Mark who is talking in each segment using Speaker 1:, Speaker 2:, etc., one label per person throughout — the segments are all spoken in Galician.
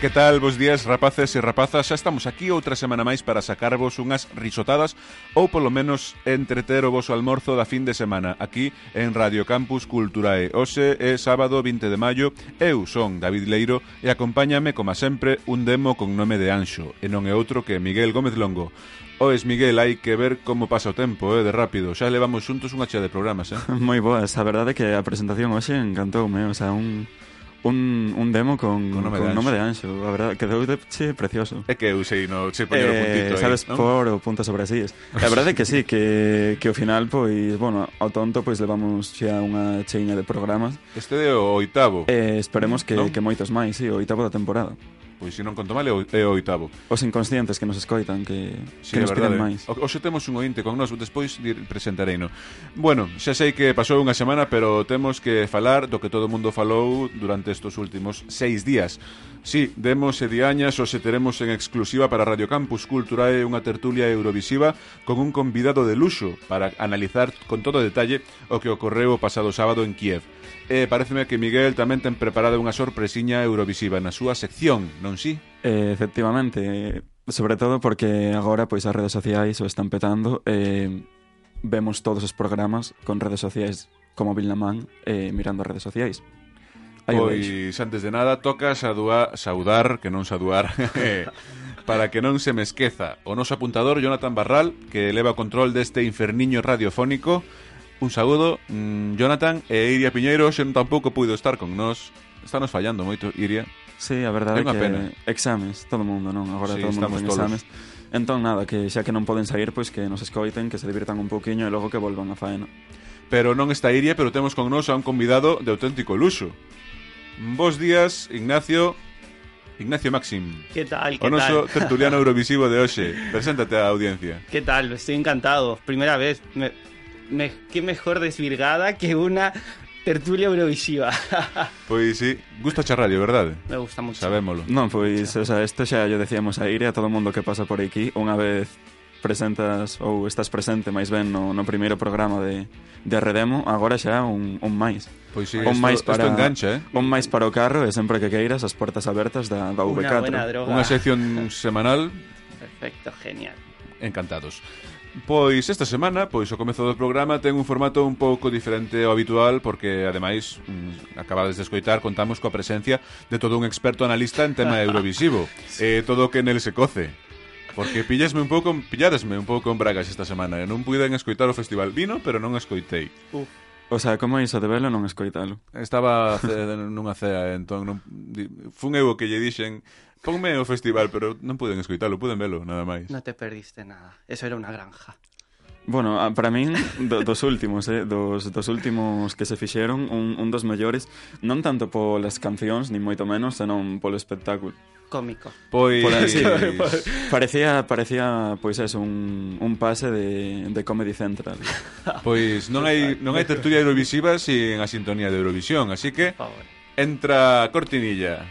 Speaker 1: Que tal, vos días, rapaces e rapazas Xa estamos aquí outra semana máis para sacarvos unhas risotadas Ou polo menos entreter o vosso almorzo da fin de semana Aquí en Radio Campus Culturae Oxe é sábado 20 de maio Eu son David Leiro E acompáñame, como sempre, un demo con nome de Anxo E non é outro que Miguel Gómez Longo Oes, Miguel, hai que ver como pasa o tempo, eh, de rápido Xa levamos xuntos unha chea de programas, eh
Speaker 2: Moi boas, a verdade é que a presentación hoxe encantoume, o sea, un, un, un demo con,
Speaker 1: Con nome de
Speaker 2: con
Speaker 1: anxo.
Speaker 2: nome de anxo, a verdade, quedou de che precioso. Eh,
Speaker 1: É que eu sei, no, sei poñer o puntito aí,
Speaker 2: sabes,
Speaker 1: non?
Speaker 2: por o punto sobre así A verdade é que sí, que, que ao final, pois, bueno, ao tonto, pois, levamos xa unha cheiña de programas
Speaker 1: Este é o oitavo
Speaker 2: E esperemos que,
Speaker 1: Non?
Speaker 2: que moitos máis, sí, o oitavo da temporada
Speaker 1: Pois se non conto mal é o, é o oitavo
Speaker 2: Os inconscientes que nos escoitan, que, que
Speaker 1: Sí, é
Speaker 2: nos piden máis
Speaker 1: verdade. O- Oxe temos un ointe con nós, despois dir- presentareino. Bueno, xa sei que pasou unha semana, pero temos que falar do que todo o mundo falou durante estes últimos seis días. Sí, demos e diañas, oxe teremos en exclusiva para Radio Campus Culturae unha tertulia eurovisiva con un convidado de luxo para analizar con todo detalle o que ocorreu o pasado sábado en Kiev. E pareceme que Miguel tamén ten preparada unha sorpresiña eurovisiva na súa sección, non si?
Speaker 2: Eh, efectivamente, eh, sobre todo porque agora pois as redes sociais o están petando eh, vemos todos os programas con redes sociais como Bill Namán eh, mirando as redes sociais. Aí o deixo.
Speaker 1: Pois, Pues, antes de nada, toca sadua, saudar, que non saudar, para que non se me esqueza. O noso apuntador, Jonathan Barral, que leva o control deste inferniño radiofónico. Un saúdo, mm, Jonathan, e Iria Piñeiro, xe non tampouco puido estar con nós. Estános fallando moito, Iria.
Speaker 2: Sí, a verdade
Speaker 1: É unha
Speaker 2: que
Speaker 1: pena.
Speaker 2: exames, todo o mundo, non? Agora
Speaker 1: Sí,
Speaker 2: todo o mundo
Speaker 1: estamos
Speaker 2: ten
Speaker 1: todos.
Speaker 2: exames. Entón, nada, que xa que non poden sair, pois que nos escoiten, que se divirtan un pouquiño e logo que volvan a faena.
Speaker 1: Pero non está Iria, pero temos con nós a un convidado de auténtico luxo. Bos días, Ignacio... Ignacio Maxim.
Speaker 3: ¿Qué tal? ¿Qué
Speaker 1: O noso
Speaker 3: tal?
Speaker 1: tertuliano eurovisivo de hoxe. Preséntate á audiencia.
Speaker 3: ¿Qué tal? Estoy encantado. Primera vez. Me- me- qué mejor desvirgada que una tertulia eurovisiva.
Speaker 1: Pois sí, gusta xa radio, verdade?
Speaker 3: me gusta mucho.
Speaker 1: Sabémolo.
Speaker 2: Non, pois, o sea, isto xa yo decíamos a Iria, a todo mundo que pasa por aquí, unha vez presentas ou estás presente máis ben no, no primeiro programa de, de Redemo, agora xa un, un máis.
Speaker 1: Pois Pues sí,
Speaker 2: un
Speaker 1: isto-
Speaker 2: máis
Speaker 1: isto
Speaker 2: para
Speaker 1: engancha, eh?
Speaker 2: Un máis para o carro e sempre que queiras as portas abertas da, da
Speaker 3: Una
Speaker 2: V4.
Speaker 3: buena droga.
Speaker 1: Unha sección semanal,
Speaker 3: Perfecto, genial.
Speaker 1: encantados. Pois esta semana, pues pois o comezo do programa ten un formato un pouco diferente ao habitual porque ademais, mm, acabades de escoitar, contamos coa presencia de todo un experto analista en tema eurovisivo, eh, todo o que nel se coce. Porque pillesme un pouco, pilladesme un pouco en bragas esta semana, e non puiden escoitar o festival. Vino, pero non escoitei.
Speaker 3: Uf,
Speaker 2: O sea, como iso de velo non escoitalo.
Speaker 1: Estaba ce- nunha cea, entón non, di- fun eu o que lle dixen Ponme o festival, pero non puden escoitalo, puden velo, nada máis
Speaker 3: no te perdiste nada. Eso era una granja.
Speaker 2: Bueno, a- para min, do, dos últimos, eh, dos, dos últimos que se fixeron, un, un dos mellores, non tanto polas cancións, ni moito menos, senón polo espectáculo.
Speaker 3: Cómico.
Speaker 1: Pois...
Speaker 2: Pola- sí, Parecía, parecía pois eso, un, un pase de, de Comedy Central.
Speaker 1: pois non hai, non hai tertulia eurovisiva sin a sintonía de Eurovisión Así que
Speaker 3: Por favor.
Speaker 1: entra a cortinilla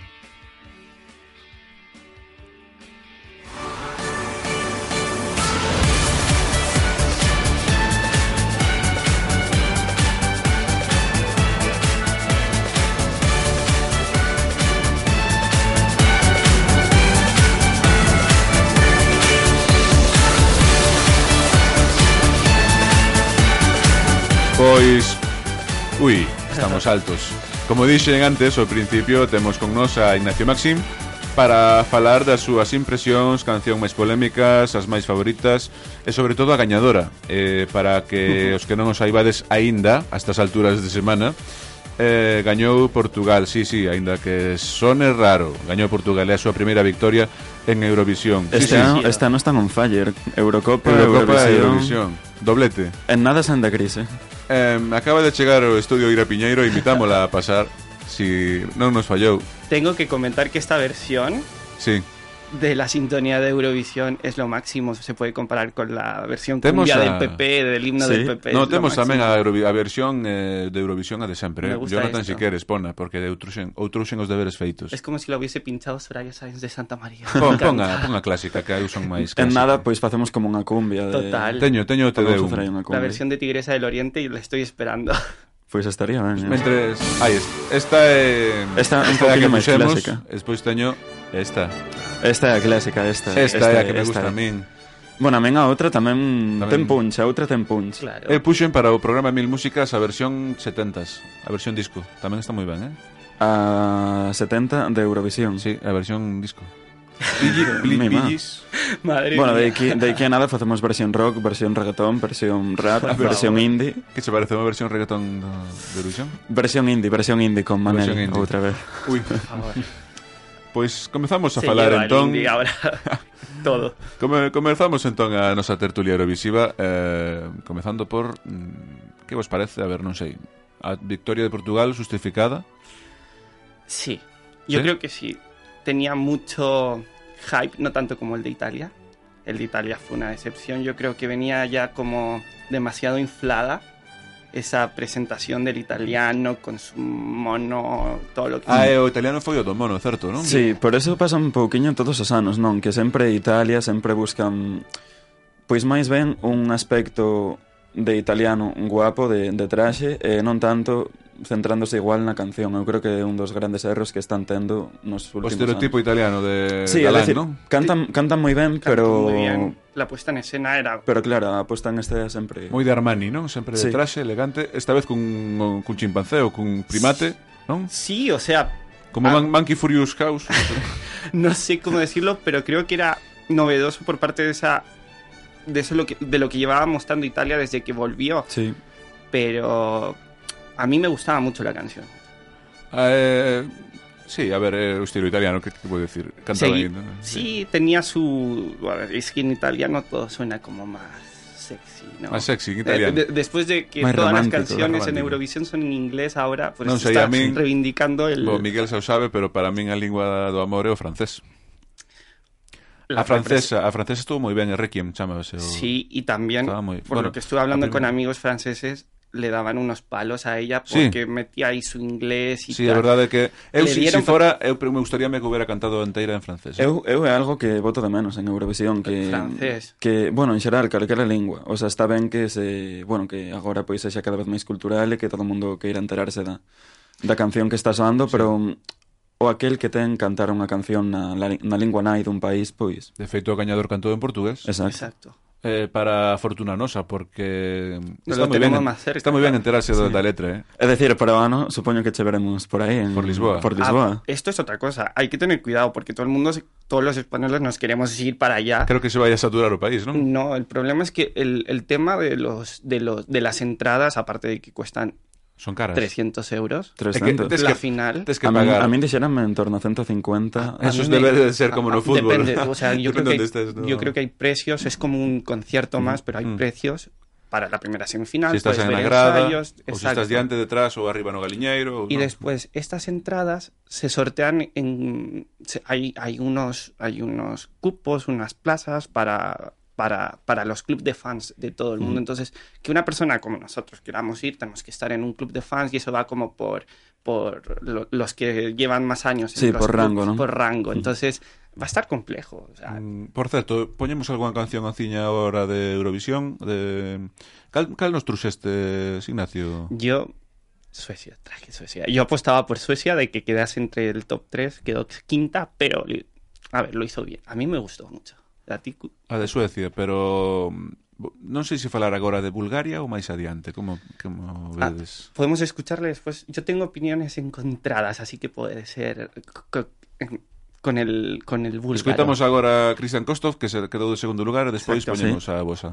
Speaker 1: Pois... Ui, estamos altos. Como dixen antes, ao principio temos con nós a Ignacio Maxim para falar das súas impresións, canción máis polémicas, as máis favoritas e sobre todo a gañadora. Eh, para que os que non os saibades aínda, a estas alturas de semana, eh, gañou Portugal, sí, sí, aínda que sone raro. Gañou Portugal, é a súa primeira victoria en Eurovisión. Sí,
Speaker 2: Este, ano,
Speaker 3: sí.
Speaker 2: este ano están on fire. Eurocopa,
Speaker 1: Eurocopa e
Speaker 2: Eurovisión.
Speaker 1: Eurovisión. Doblete.
Speaker 2: En nada se anda eh. crise.
Speaker 1: Em, acaba de chegar o estudio Ira Piñeiro e invitámola a pasar si non nos fallou.
Speaker 3: Tengo que comentar que esta versión
Speaker 1: Sí.
Speaker 3: de la sintonía de Eurovisión es lo máximo. Se puede comparar con la versión
Speaker 1: Temos
Speaker 3: cumbia
Speaker 1: a-
Speaker 3: del PP, del himno
Speaker 2: Sí.
Speaker 3: del PP.
Speaker 1: no,
Speaker 3: es lo
Speaker 1: temos tamén
Speaker 3: máximo.
Speaker 1: a, Eurovi- a versión eh, de Eurovisión a de
Speaker 3: Me
Speaker 1: sempre. eh.
Speaker 3: gusta
Speaker 1: Jonathan,
Speaker 3: esto.
Speaker 1: si queres, pona, porque de outruxen, outruxen os deberes feitos.
Speaker 3: Es como si lo hubiese pinchado Soraya Sáenz de Santa María. Me
Speaker 1: Pon,
Speaker 3: encanta.
Speaker 1: ponga, ponga clásica, que eu son máis
Speaker 2: En
Speaker 1: clásico.
Speaker 2: nada, pois facemos como unha cumbia. De...
Speaker 3: Total.
Speaker 1: Teño, teño o
Speaker 2: Podemos
Speaker 1: TD1.
Speaker 2: facer aí unha cumbia.
Speaker 3: La versión de Tigresa del Oriente y la estoy esperando.
Speaker 2: Pois estaría ben. eh.
Speaker 1: Mentres, aí, es- esta é
Speaker 2: Esta é un
Speaker 1: é a que
Speaker 2: poquinho máis
Speaker 1: puxemos,
Speaker 2: clásica.
Speaker 1: Despois teño Esta.
Speaker 2: Esta é a clásica, esta.
Speaker 1: Esta, é a que me
Speaker 2: esta
Speaker 1: gusta
Speaker 2: é.
Speaker 1: a min.
Speaker 2: Bueno, a men a outra tamén,
Speaker 1: Tamén.
Speaker 2: ten punch, a outra ten punch.
Speaker 3: Claro.
Speaker 1: E puxen para o programa Mil Músicas a versión 70s, a versión disco. Tamén está moi ben, eh?
Speaker 2: A 70 de Eurovisión.
Speaker 1: Sí, a versión disco.
Speaker 2: Mi má.
Speaker 1: Pillis,
Speaker 3: Madre
Speaker 2: Bueno, de
Speaker 3: mía.
Speaker 2: aquí, de aquí a nada facemos versión rock, versión reggaetón, versión rap,
Speaker 3: favor.
Speaker 2: versión indie.
Speaker 1: que se parece a unha versión reggaetón do, de Eurovisión.
Speaker 2: Versión indie, versión indie con Manel
Speaker 1: Versión indie.
Speaker 2: outra vez.
Speaker 1: Ui,
Speaker 3: favor.
Speaker 1: pois comezamos a
Speaker 3: Se
Speaker 1: falar
Speaker 3: lleva el
Speaker 1: entón.
Speaker 3: indie ahora todo.
Speaker 1: Come, comezamos entón a nosa tertulia Eurovisiva eh, Comezando por mm, Que vos parece? A ver, non sei A victoria de Portugal justificada
Speaker 3: Sí, yo
Speaker 1: ¿Sí?
Speaker 3: creo que sí. Tenía mucho hype, no tanto como el de Italia. El de Italia fue una decepción. Yo creo que venía ya como demasiado inflada esa presentación del italiano con su mono, todo lo que...
Speaker 1: Ah, e o italiano foi o do mono, certo, non?
Speaker 2: Sí, por eso pasa un pouquiño todos os anos, non? Que sempre Italia sempre buscan pois máis ben un aspecto de italiano guapo, de, de traxe, e non tanto centrándose igual na canción. Eu creo que é un dos grandes erros que están tendo nos
Speaker 1: O
Speaker 2: últimos
Speaker 1: estereotipo
Speaker 2: anos.
Speaker 1: italiano Pois de
Speaker 2: Sí, é
Speaker 1: Galán,
Speaker 2: decir,
Speaker 1: non?
Speaker 2: cantan, cantan moi ben,
Speaker 3: Cantó
Speaker 2: pero...
Speaker 3: muy bien. La puesta en escena era...
Speaker 2: Pero claro, a aposta en esta sempre...
Speaker 1: Moi de Armani, non? Sempre de
Speaker 2: Sí.
Speaker 1: traxe, elegante Esta vez cun, cun chimpancé ou cun primate, non?
Speaker 3: Sí, o sea,
Speaker 1: Como
Speaker 3: Ah.
Speaker 1: Man- Monkey Furious House
Speaker 3: no sé cómo decirlo, pero creo que era novedoso por parte de esa... De, eso lo que, de lo que llevaba mostrando Italia desde que volvió.
Speaker 2: Sí.
Speaker 3: Pero a mí me gustaba mucho la canción.
Speaker 1: ah, eh, Sí, a ver, é o estilo italiano, que, que vou decir? Cantaba
Speaker 3: Segui-
Speaker 1: aí, non?
Speaker 3: Sí, tenía su. A ver, es que en italiano todo suena como más sexy, ¿no?
Speaker 1: Más sexy,
Speaker 3: Eh,
Speaker 1: en italiano
Speaker 3: de- después de que
Speaker 2: Más
Speaker 3: todas las
Speaker 2: romántico,
Speaker 1: más
Speaker 3: canciones en
Speaker 1: romántico.
Speaker 3: Eurovisión son en inglés ahora, pues
Speaker 1: No
Speaker 3: se
Speaker 1: sé,
Speaker 3: está
Speaker 1: a mí-
Speaker 3: reivindicando el,
Speaker 1: Bo, Miguel xa o sabe, pero para min a lingua do amor é o francés
Speaker 3: la
Speaker 1: a francesa, a francesa estuvo moi ben, a Requiem chamase o...
Speaker 3: Sí, y también,
Speaker 1: Estaba muy-
Speaker 3: por
Speaker 1: bueno,
Speaker 3: lo que estuve hablando
Speaker 1: la
Speaker 3: con
Speaker 1: primera-
Speaker 3: amigos franceses, le daban unos palos a ella
Speaker 1: Sí.
Speaker 3: porque metía ahí su inglés y
Speaker 1: Sí,
Speaker 3: tal.
Speaker 1: a verdade é que eu
Speaker 3: Le
Speaker 1: si,
Speaker 3: dieron
Speaker 1: si fora, eu pre- me gustaría me que hubiera cantado enteira en francés.
Speaker 2: Eu, eu é algo que voto de menos en Eurovisión que
Speaker 3: Francés.
Speaker 2: que, bueno, en xeral, calquera lingua. O sea, está ben que se, bueno, que agora pois sexa cada vez máis cultural e que todo mundo queira enterarse da da canción que está soando, sí. pero mm, o aquel que ten cantar unha canción na, la- na lingua nai dun país, pois.
Speaker 1: De feito, o gañador cantou en portugués.
Speaker 2: Exacto.
Speaker 3: Exacto.
Speaker 1: Eh, para fortuna nosa, porque
Speaker 3: Nos
Speaker 1: está
Speaker 3: lo
Speaker 1: moi ben,
Speaker 3: tenemos más cerca,
Speaker 1: está moi ben
Speaker 3: claro.
Speaker 1: enterarse sí. da letra, eh.
Speaker 2: É dicir, para o ano, supoño que che veremos por aí en,
Speaker 1: Por Lisboa.
Speaker 2: Por
Speaker 3: Ah,
Speaker 2: Lisboa.
Speaker 3: esto es otra cosa. Hay que tener cuidado porque todo el mundo, se- todos los españoles nos queremos ir para allá.
Speaker 1: Creo que se vai a saturar o país, non?
Speaker 3: No, el problema es que el, el tema de los, de los de las entradas, aparte de que cuestan
Speaker 1: Son caras.
Speaker 3: 300 euros,
Speaker 1: É que
Speaker 2: 300.
Speaker 1: tes
Speaker 3: la
Speaker 1: que,
Speaker 3: final.
Speaker 1: tes que
Speaker 2: A min,
Speaker 1: pagar.
Speaker 2: a min dixéranme en torno a 150.
Speaker 1: Eso
Speaker 3: a
Speaker 1: es
Speaker 3: mí me-
Speaker 1: debe de ser como no fútbol.
Speaker 3: Depende, o sea, yo,
Speaker 1: Depende
Speaker 3: creo que, hay,
Speaker 1: onde estés, no.
Speaker 3: yo creo que hay precios, es como un concierto más, pero hay
Speaker 1: mm.
Speaker 3: precios para la primera semifinal.
Speaker 1: Si estás
Speaker 3: puedes
Speaker 1: en a
Speaker 3: ver
Speaker 1: grada,
Speaker 3: ensayos,
Speaker 1: ou se
Speaker 3: exacto.
Speaker 1: estás diante, detrás, ou arriba no galiñeiro, ou
Speaker 3: Y
Speaker 1: no.
Speaker 3: después, estas entradas se sortean en... se- hay, hay, unos, hay unos cupos, unas plazas para, para, para los clubes de fans de todo el mundo. Entonces, que una persona como nosotros queramos ir, tenemos que estar en un club de fans y eso va como por, por lo- los que llevan más años. en
Speaker 2: Sí,
Speaker 3: los
Speaker 2: por
Speaker 3: clubs,
Speaker 2: rango, ¿no?
Speaker 3: Por rango. Entonces, va a estar complejo. o sea,
Speaker 1: Mm, Por certo, poñemos algunha canción anciña agora de Eurovisión de Cal, cal nos truxeste, Ignacio?
Speaker 3: Yo... Suecia, traje Suecia. Yo apostaba por Suecia de que quedase entre el top 3, quedó quinta, pero a ver, lo hizo bien. A mí me gustó mucho. A ti, cu-
Speaker 1: A de Suecia, pero mm, bo- non sei se falar agora de Bulgaria ou máis adiante, como como
Speaker 3: Ah.
Speaker 1: vedes.
Speaker 3: podemos escucharle después. Yo tengo opiniones encontradas, así que puede ser co- co- con el con el búlgaro.
Speaker 1: Escoitamos agora a Cristian Kostov que se quedou de segundo lugar e despois
Speaker 3: Exacto,
Speaker 1: poñemos a vosa.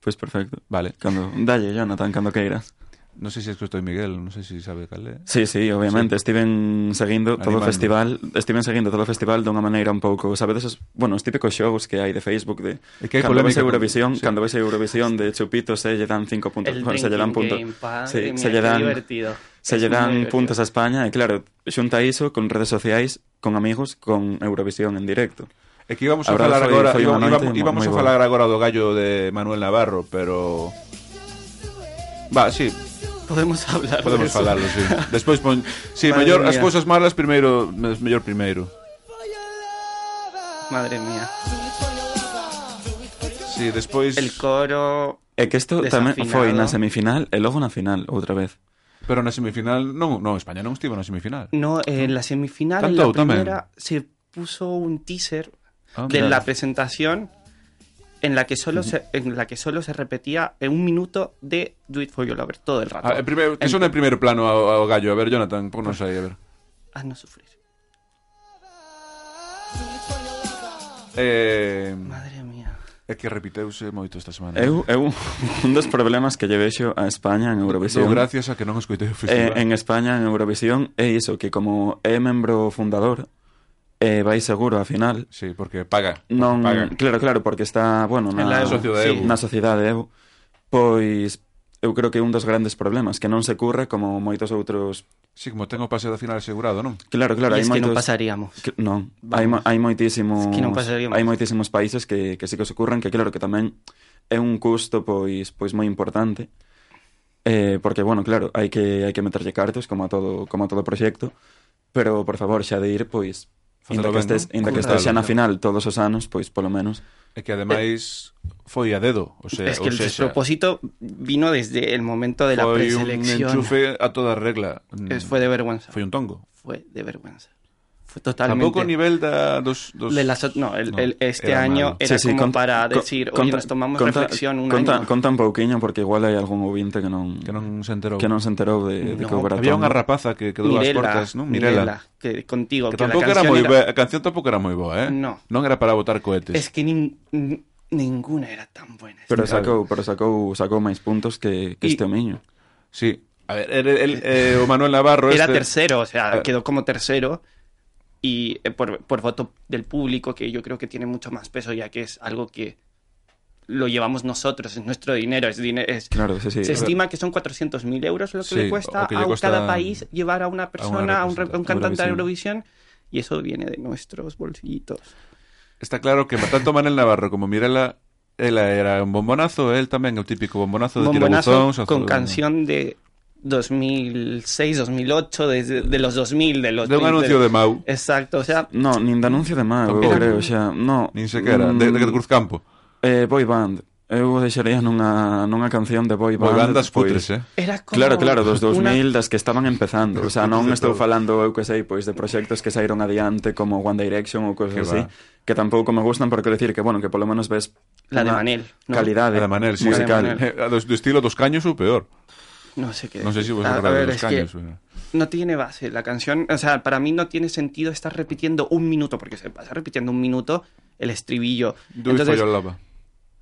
Speaker 2: Pois perfecto.
Speaker 1: Vale.
Speaker 2: Cando, dalle, Jonathan, cando queiras.
Speaker 1: Non sei se escoitou Miguel, non sei se sabe cal é.
Speaker 2: Sí, sí, obviamente,
Speaker 1: Sí.
Speaker 2: estiven seguindo todo o
Speaker 1: Animando.
Speaker 2: festival, estiven seguindo todo o festival dunha maneira un pouco, sabedes, os, bueno, os típicos xogos que hai de Facebook de
Speaker 1: E que hai
Speaker 2: cando vais a
Speaker 1: polémica con-
Speaker 2: Eurovisión,
Speaker 1: sí.
Speaker 2: cando vais a Eurovisión de chupitos se lle dan 5 puntos,
Speaker 3: el
Speaker 2: bueno, se lle dan puntos.
Speaker 3: drinking game, padre
Speaker 2: Sí,
Speaker 3: mía,
Speaker 2: se lle
Speaker 3: qué
Speaker 2: dan-
Speaker 3: divertido.
Speaker 2: Se
Speaker 3: Es
Speaker 2: lle
Speaker 3: muy
Speaker 2: dan
Speaker 3: divertido.
Speaker 2: puntos a España e claro, xunta iso con redes sociais, con amigos, con Eurovisión en directo.
Speaker 1: É que íbamos a
Speaker 2: Abrazo e
Speaker 1: falar agora,
Speaker 2: foi unha
Speaker 1: íbamos,
Speaker 2: noite
Speaker 1: íbamos,
Speaker 2: moi-
Speaker 1: íbamos
Speaker 2: moi
Speaker 1: a
Speaker 2: boa.
Speaker 1: falar agora do gallo de Manuel Navarro, pero Va, sí,
Speaker 3: Podemos hablar. de
Speaker 1: Podemos
Speaker 3: eso.
Speaker 1: falarlo, sí. Despois pon... Sí,
Speaker 3: Madre
Speaker 1: mellor as
Speaker 3: mía.
Speaker 1: cousas malas primeiro, mes- mellor primeiro.
Speaker 3: Madre mía.
Speaker 1: Sí, despois
Speaker 3: El coro
Speaker 2: E que isto tamén
Speaker 3: Desafinado.
Speaker 2: foi na semifinal e logo na final, outra vez.
Speaker 1: Pero na semifinal non, non, España non estive na semifinal.
Speaker 3: No, eh, en la semifinal, en la
Speaker 1: Tanto, tamén.
Speaker 3: primera, se puso un teaser
Speaker 1: Ah,
Speaker 3: de
Speaker 1: mira.
Speaker 3: la presentación en la que solo se, en la que solo se repetía en un minuto de Do It For Your Lover todo el rato.
Speaker 1: A, eh, primeiro, que son en primeiro plano ao, ao gallo, a ver, Jonathan, pon non sei, a ver.
Speaker 3: Haz Ah, no sufrir.
Speaker 1: Eh,
Speaker 3: Madre mía.
Speaker 1: é que repiteuse moito esta semana.
Speaker 2: Eu, eu un dos problemas que lle vexo a España en
Speaker 1: Dou
Speaker 2: Eurovisión.
Speaker 1: gracias a que non escoitei o
Speaker 2: eh,
Speaker 1: festival.
Speaker 2: en España, en Eurovisión, é iso, que como é membro fundador, eh, vai seguro á final.
Speaker 1: Sí, porque paga. porque
Speaker 2: Non,
Speaker 1: paga.
Speaker 2: claro, claro, porque está, bueno,
Speaker 3: En
Speaker 2: na,
Speaker 3: la
Speaker 1: Na
Speaker 3: Evo,
Speaker 1: sociedade
Speaker 3: Ah, sí.
Speaker 1: Evo.
Speaker 2: na sociedade EU. Pois eu creo que é un dos grandes problemas que non se curra como moitos outros.
Speaker 1: Sí, como tengo pase da final asegurado, non?
Speaker 2: Claro,
Speaker 3: Y
Speaker 2: claro, hai
Speaker 3: es que
Speaker 2: moitos
Speaker 3: no pasaríamos.
Speaker 2: Que- Non, hai, mo- hai moitísimos
Speaker 3: Es que non pasaríamos.
Speaker 2: hai moitísimos países que, que sí que os ocurren que claro que tamén é un custo pois pois moi importante. Eh, porque bueno, claro, hai que hai que meterlle cartos como a todo como a todo proxecto, pero por favor, xa de ir pois Inda que
Speaker 1: Facelo ben,
Speaker 2: estes,
Speaker 1: non?
Speaker 2: inda que
Speaker 1: Curralo,
Speaker 2: estes xa na
Speaker 1: claro.
Speaker 2: final todos os anos, pois polo menos.
Speaker 1: É que ademais foi a dedo, o sea,
Speaker 3: es que
Speaker 1: o
Speaker 3: el
Speaker 1: sexa,
Speaker 3: despropósito vino desde el momento de la
Speaker 1: foi un
Speaker 3: preselección.
Speaker 1: enchufe a toda regla. Mm,
Speaker 3: Es- fue de vergüenza.
Speaker 1: foi
Speaker 3: Fue,
Speaker 1: un tongo.
Speaker 3: de vergüenza. Fue totalmente.
Speaker 1: Tampouco o nivel da dos, dos...
Speaker 3: de las, no, el-
Speaker 1: No,
Speaker 3: el- este
Speaker 1: era
Speaker 3: año
Speaker 1: malo.
Speaker 3: era
Speaker 2: Sí, sí,
Speaker 3: como
Speaker 2: conta-
Speaker 3: para
Speaker 2: co-
Speaker 3: decir, oye,
Speaker 2: conta-
Speaker 3: nos tomamos
Speaker 2: conta-
Speaker 3: reflexión un
Speaker 2: conta,
Speaker 3: año.
Speaker 2: Conta un pouquiño porque igual hai algún ouvinte que non
Speaker 1: que non se enterou.
Speaker 2: que non se enterou de, de que
Speaker 3: No,
Speaker 2: houbera
Speaker 1: Había unha
Speaker 2: tanto.
Speaker 1: rapaza que quedou ás portas, non? Mirela.
Speaker 3: que contigo.
Speaker 1: Que
Speaker 3: la
Speaker 1: tampouco era
Speaker 3: canción
Speaker 1: moi boa, a canción tampouco era moi boa, eh?
Speaker 3: No.
Speaker 1: Non era para botar cohetes.
Speaker 3: Es que nin- nin- ninguna era tan buena.
Speaker 2: Pero sacou,
Speaker 1: Claro.
Speaker 2: pero sacou, sacou máis puntos que, que
Speaker 3: Y-
Speaker 2: este homiño.
Speaker 1: Sí. A ver, el, el- eh, o Manuel Navarro
Speaker 3: era
Speaker 1: este-
Speaker 3: tercero, o sea,
Speaker 1: Ah.
Speaker 3: quedó como tercero. Y eh, por, por voto del público, que yo creo que tiene mucho más peso, ya que es algo que lo llevamos nosotros, es nuestro dinero. Es dine- es-
Speaker 2: Claro, sí, sí.
Speaker 3: se
Speaker 1: a ver.
Speaker 3: estima que son 400.000 euros lo que
Speaker 1: Sí,
Speaker 3: le cuesta
Speaker 1: o que le
Speaker 3: a
Speaker 1: cuesta
Speaker 3: cada país llevar a una persona, a, un, re- a un
Speaker 1: representante.
Speaker 3: cantante de
Speaker 2: Eurovisión.
Speaker 3: Eurovisión, y eso viene de nuestros bolsillitos.
Speaker 1: Está claro que tanto Manuel Navarro como Mirela ela era un bombonazo, él también el típico bombonazo de
Speaker 3: Bombonazo
Speaker 1: tirabuzón,
Speaker 3: con
Speaker 1: azul-
Speaker 3: canción de 2006, 2008, desde de los 2000, de los
Speaker 1: de un
Speaker 3: 20,
Speaker 1: anuncio de Mau,
Speaker 3: Exacto, o sea,
Speaker 2: No, nin de anuncio de mago, eu
Speaker 1: Tampouco.
Speaker 2: creo, xa. No, mm,
Speaker 1: nin sequera, de, de Cruz Campo.
Speaker 2: Eh, boy band. Eu o deixaría nunha, nunha canción de boy
Speaker 1: Moi
Speaker 2: band.
Speaker 1: bandas
Speaker 2: pois-
Speaker 1: putres, eh.
Speaker 3: era como.
Speaker 2: Claro, claro, dos
Speaker 3: una-
Speaker 2: 2000 das que estaban empezando. O sea, non
Speaker 1: De
Speaker 2: estou
Speaker 1: todo.
Speaker 2: falando, eu que sei, pois de proxectos que saíron adiante como One Direction ou
Speaker 1: Que
Speaker 2: cosas así,
Speaker 1: va.
Speaker 2: que tampouco me gustan porque decir que, bueno, que polo menos ves
Speaker 3: La de
Speaker 2: unha
Speaker 3: Manel, ¿no?
Speaker 2: calidade
Speaker 1: A da Manel, sí.
Speaker 3: A
Speaker 2: musical.
Speaker 3: da Manel.
Speaker 1: Eh, a dos- do estilo dos caños ou peor.
Speaker 3: No sé qué.
Speaker 1: Non sei se vos
Speaker 3: a, a
Speaker 1: acordáis
Speaker 3: ver,
Speaker 1: dos
Speaker 3: es que
Speaker 1: caños. ¿eh? pero-
Speaker 3: no tiene base la canción. O sea, para mí no tiene sentido estar repitiendo un minuto, porque se pasa repitiendo un minuto el estribillo.
Speaker 1: Do it for
Speaker 3: Entonces,
Speaker 1: your lover.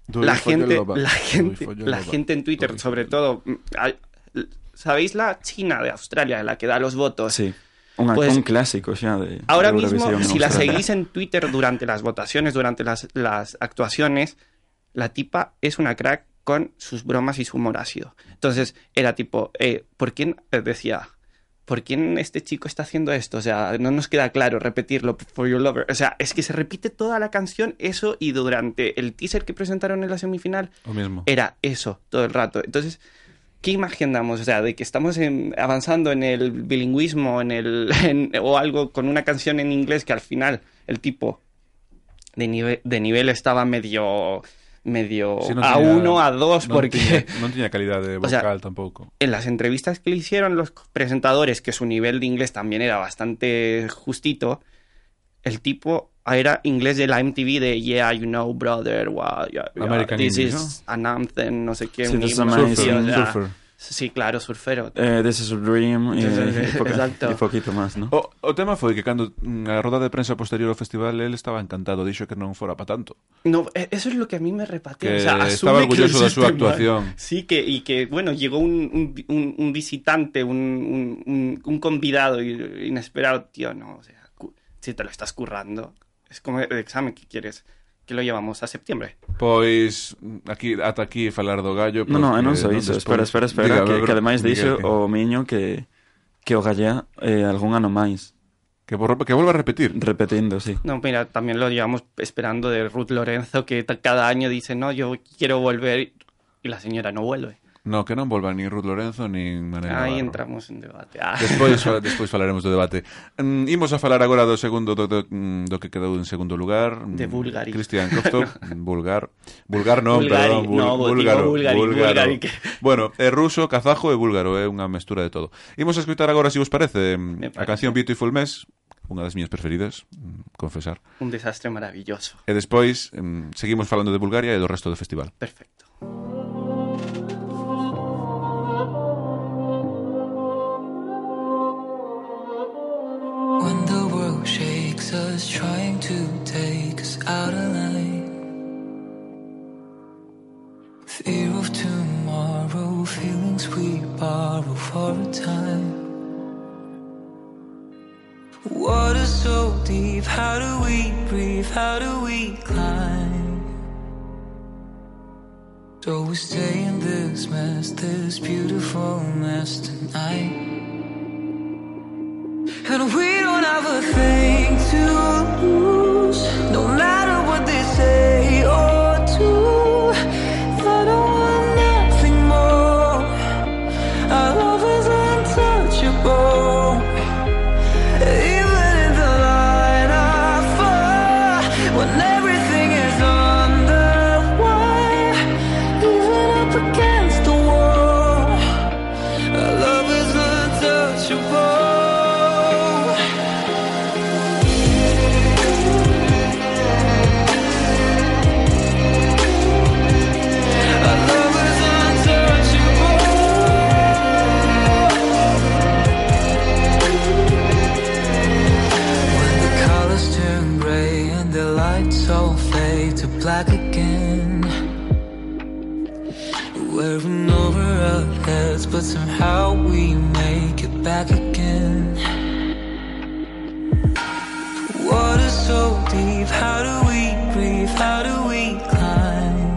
Speaker 1: Do
Speaker 3: la
Speaker 1: it for your
Speaker 3: gente,
Speaker 1: lover.
Speaker 3: la
Speaker 1: Do it
Speaker 3: gente,
Speaker 1: for your
Speaker 3: la
Speaker 1: lover.
Speaker 3: gente en
Speaker 1: Do
Speaker 3: Twitter,
Speaker 1: it.
Speaker 3: sobre todo, mm, hay- ¿sabéis la China de Australia, la que da los votos?
Speaker 2: Sí. Unha,
Speaker 3: Pues,
Speaker 2: un clásico xa de
Speaker 3: Ahora
Speaker 2: de
Speaker 3: mismo,
Speaker 2: Eurovisión en
Speaker 3: si la
Speaker 2: Australia.
Speaker 3: seguís en Twitter durante las votaciones, durante las, las actuaciones, la tipa es una crack con sus bromas y su humor ácido. Entonces, era tipo, eh, ¿por quién? eh, decía, ¿por quién este chico está haciendo esto? O sea, no nos queda claro repetirlo, For Your Lover. O sea, es que se repite toda la canción, eso, y durante el teaser que presentaron en la semifinal,
Speaker 1: O mismo.
Speaker 3: era eso todo el rato. Entonces, ¿qué imagen damos? O sea, de que estamos en- avanzando en el bilingüismo en el, en- o algo con una canción en inglés que al final el tipo de, nive- de nivel estaba medio, medio
Speaker 1: Sí, non
Speaker 3: a
Speaker 1: tiña-
Speaker 3: uno, a dos,
Speaker 1: non
Speaker 3: porque
Speaker 1: tiña- non tiña calidad de
Speaker 3: O sea,
Speaker 1: vocal tampouco.
Speaker 3: en las entrevistas que le hicieron los presentadores, que su nivel de inglés también era bastante justito, el tipo era inglés de la MTV de Yeah, you know, brother, wow, yeah, yeah,
Speaker 1: American
Speaker 3: this
Speaker 1: English,
Speaker 3: is an anthem, no sé qué.
Speaker 2: Sí,
Speaker 3: un
Speaker 2: this is
Speaker 3: himno,
Speaker 2: amazing.
Speaker 3: sí, o sea,
Speaker 1: Surfer.
Speaker 3: Sí, claro, surfero.
Speaker 2: Eh, This is a Dream e,
Speaker 3: Entonces,
Speaker 2: e, poca-
Speaker 3: exacto.
Speaker 2: e poquito máis, ¿no?
Speaker 1: O, o tema foi que cando mm, a roda de prensa posterior ao festival el estaba encantado, dixo que non fora pa tanto.
Speaker 3: No, e- eso es lo que a mí me repatea. o
Speaker 1: Que
Speaker 3: sea, asume
Speaker 1: estaba
Speaker 3: que lo
Speaker 1: orgulloso de su
Speaker 3: hiciste
Speaker 1: actuación.
Speaker 3: mal. Sí, que, y que, bueno, llegó un, un- un- un visitante, un, un- un- un convidado i- inesperado. Tío, no, o sea, cu- si te lo estás currando, es como el examen que quieres, que lo llevamos a septiembre.
Speaker 1: Pois aquí ata aquí falar do gallo,
Speaker 2: No, no,
Speaker 1: porque
Speaker 2: e non só iso, espera,
Speaker 1: despois-
Speaker 2: espera, espera,
Speaker 1: Dígame,
Speaker 2: que,
Speaker 1: Bruno,
Speaker 2: que ademais dixo
Speaker 1: Miguel,
Speaker 2: o Miño que que o Gallá eh, algún ano máis,
Speaker 1: que, que, borro- que vuelva a repetir.
Speaker 2: repetindo, sí.
Speaker 3: No, mira, también lo llevamos esperando de Ruth Lorenzo, que ta- cada año dice, no, yo quiero volver, y la señora no vuelve.
Speaker 1: No, que non volva nin Ruth Lorenzo nin Manel
Speaker 3: Aí
Speaker 1: Navarro.
Speaker 3: entramos en debate. Ah.
Speaker 1: Despois, fa- despois falaremos do debate. Mm, imos a falar agora do segundo do, do, mm, do que quedou en segundo lugar.
Speaker 3: De
Speaker 1: Mm,
Speaker 3: Bulgari.
Speaker 1: Cristian Kofto, vulgar. Vulgar non,
Speaker 3: Bulgari,
Speaker 1: perdón, bul,
Speaker 3: no, digo
Speaker 1: búlgaro,
Speaker 3: Bulgari,
Speaker 1: búlgaro.
Speaker 3: Bulgari, que-
Speaker 1: Bueno, é ruso, kazajo e búlgaro, é unha mestura de todo. Imos a escutar agora, se vos parece,
Speaker 3: Me
Speaker 1: mm, a
Speaker 3: parece.
Speaker 1: canción Beautiful Mess, unha das miñas preferidas, mm, confesar.
Speaker 3: Un desastre maravilloso.
Speaker 1: E despois mm, seguimos falando de Bulgaria e do resto do festival.
Speaker 3: Perfecto.
Speaker 4: When the world shakes us, trying to take us out of line. Fear of tomorrow, feelings we borrow for a time. Water so deep, how do we breathe? How do we climb? So we stay in this mess, this beautiful mess tonight. And we don't have a thing to lose. No matter what they say or do, I don't want nothing more. Our love is untouchable. Even in the line of fire, when everything is on the wire, even up against the wall. Our love is untouchable. Our love is untouchable. When the colors turn gray and the lights all fade to black again. Wearing over our heads, but somehow we make it back again. Water so deep, how do we breathe? How do we climb?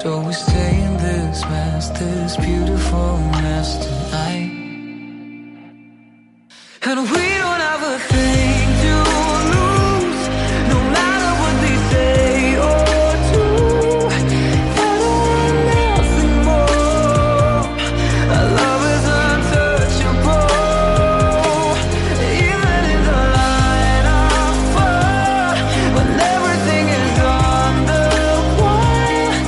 Speaker 4: So we stay in this mess, this beautiful mess tonight. And we don't have a thing to lose. No matter what they say or do, I don't want nothing more. Our love is untouchable. Even in the line of fire, when everything is on the wire,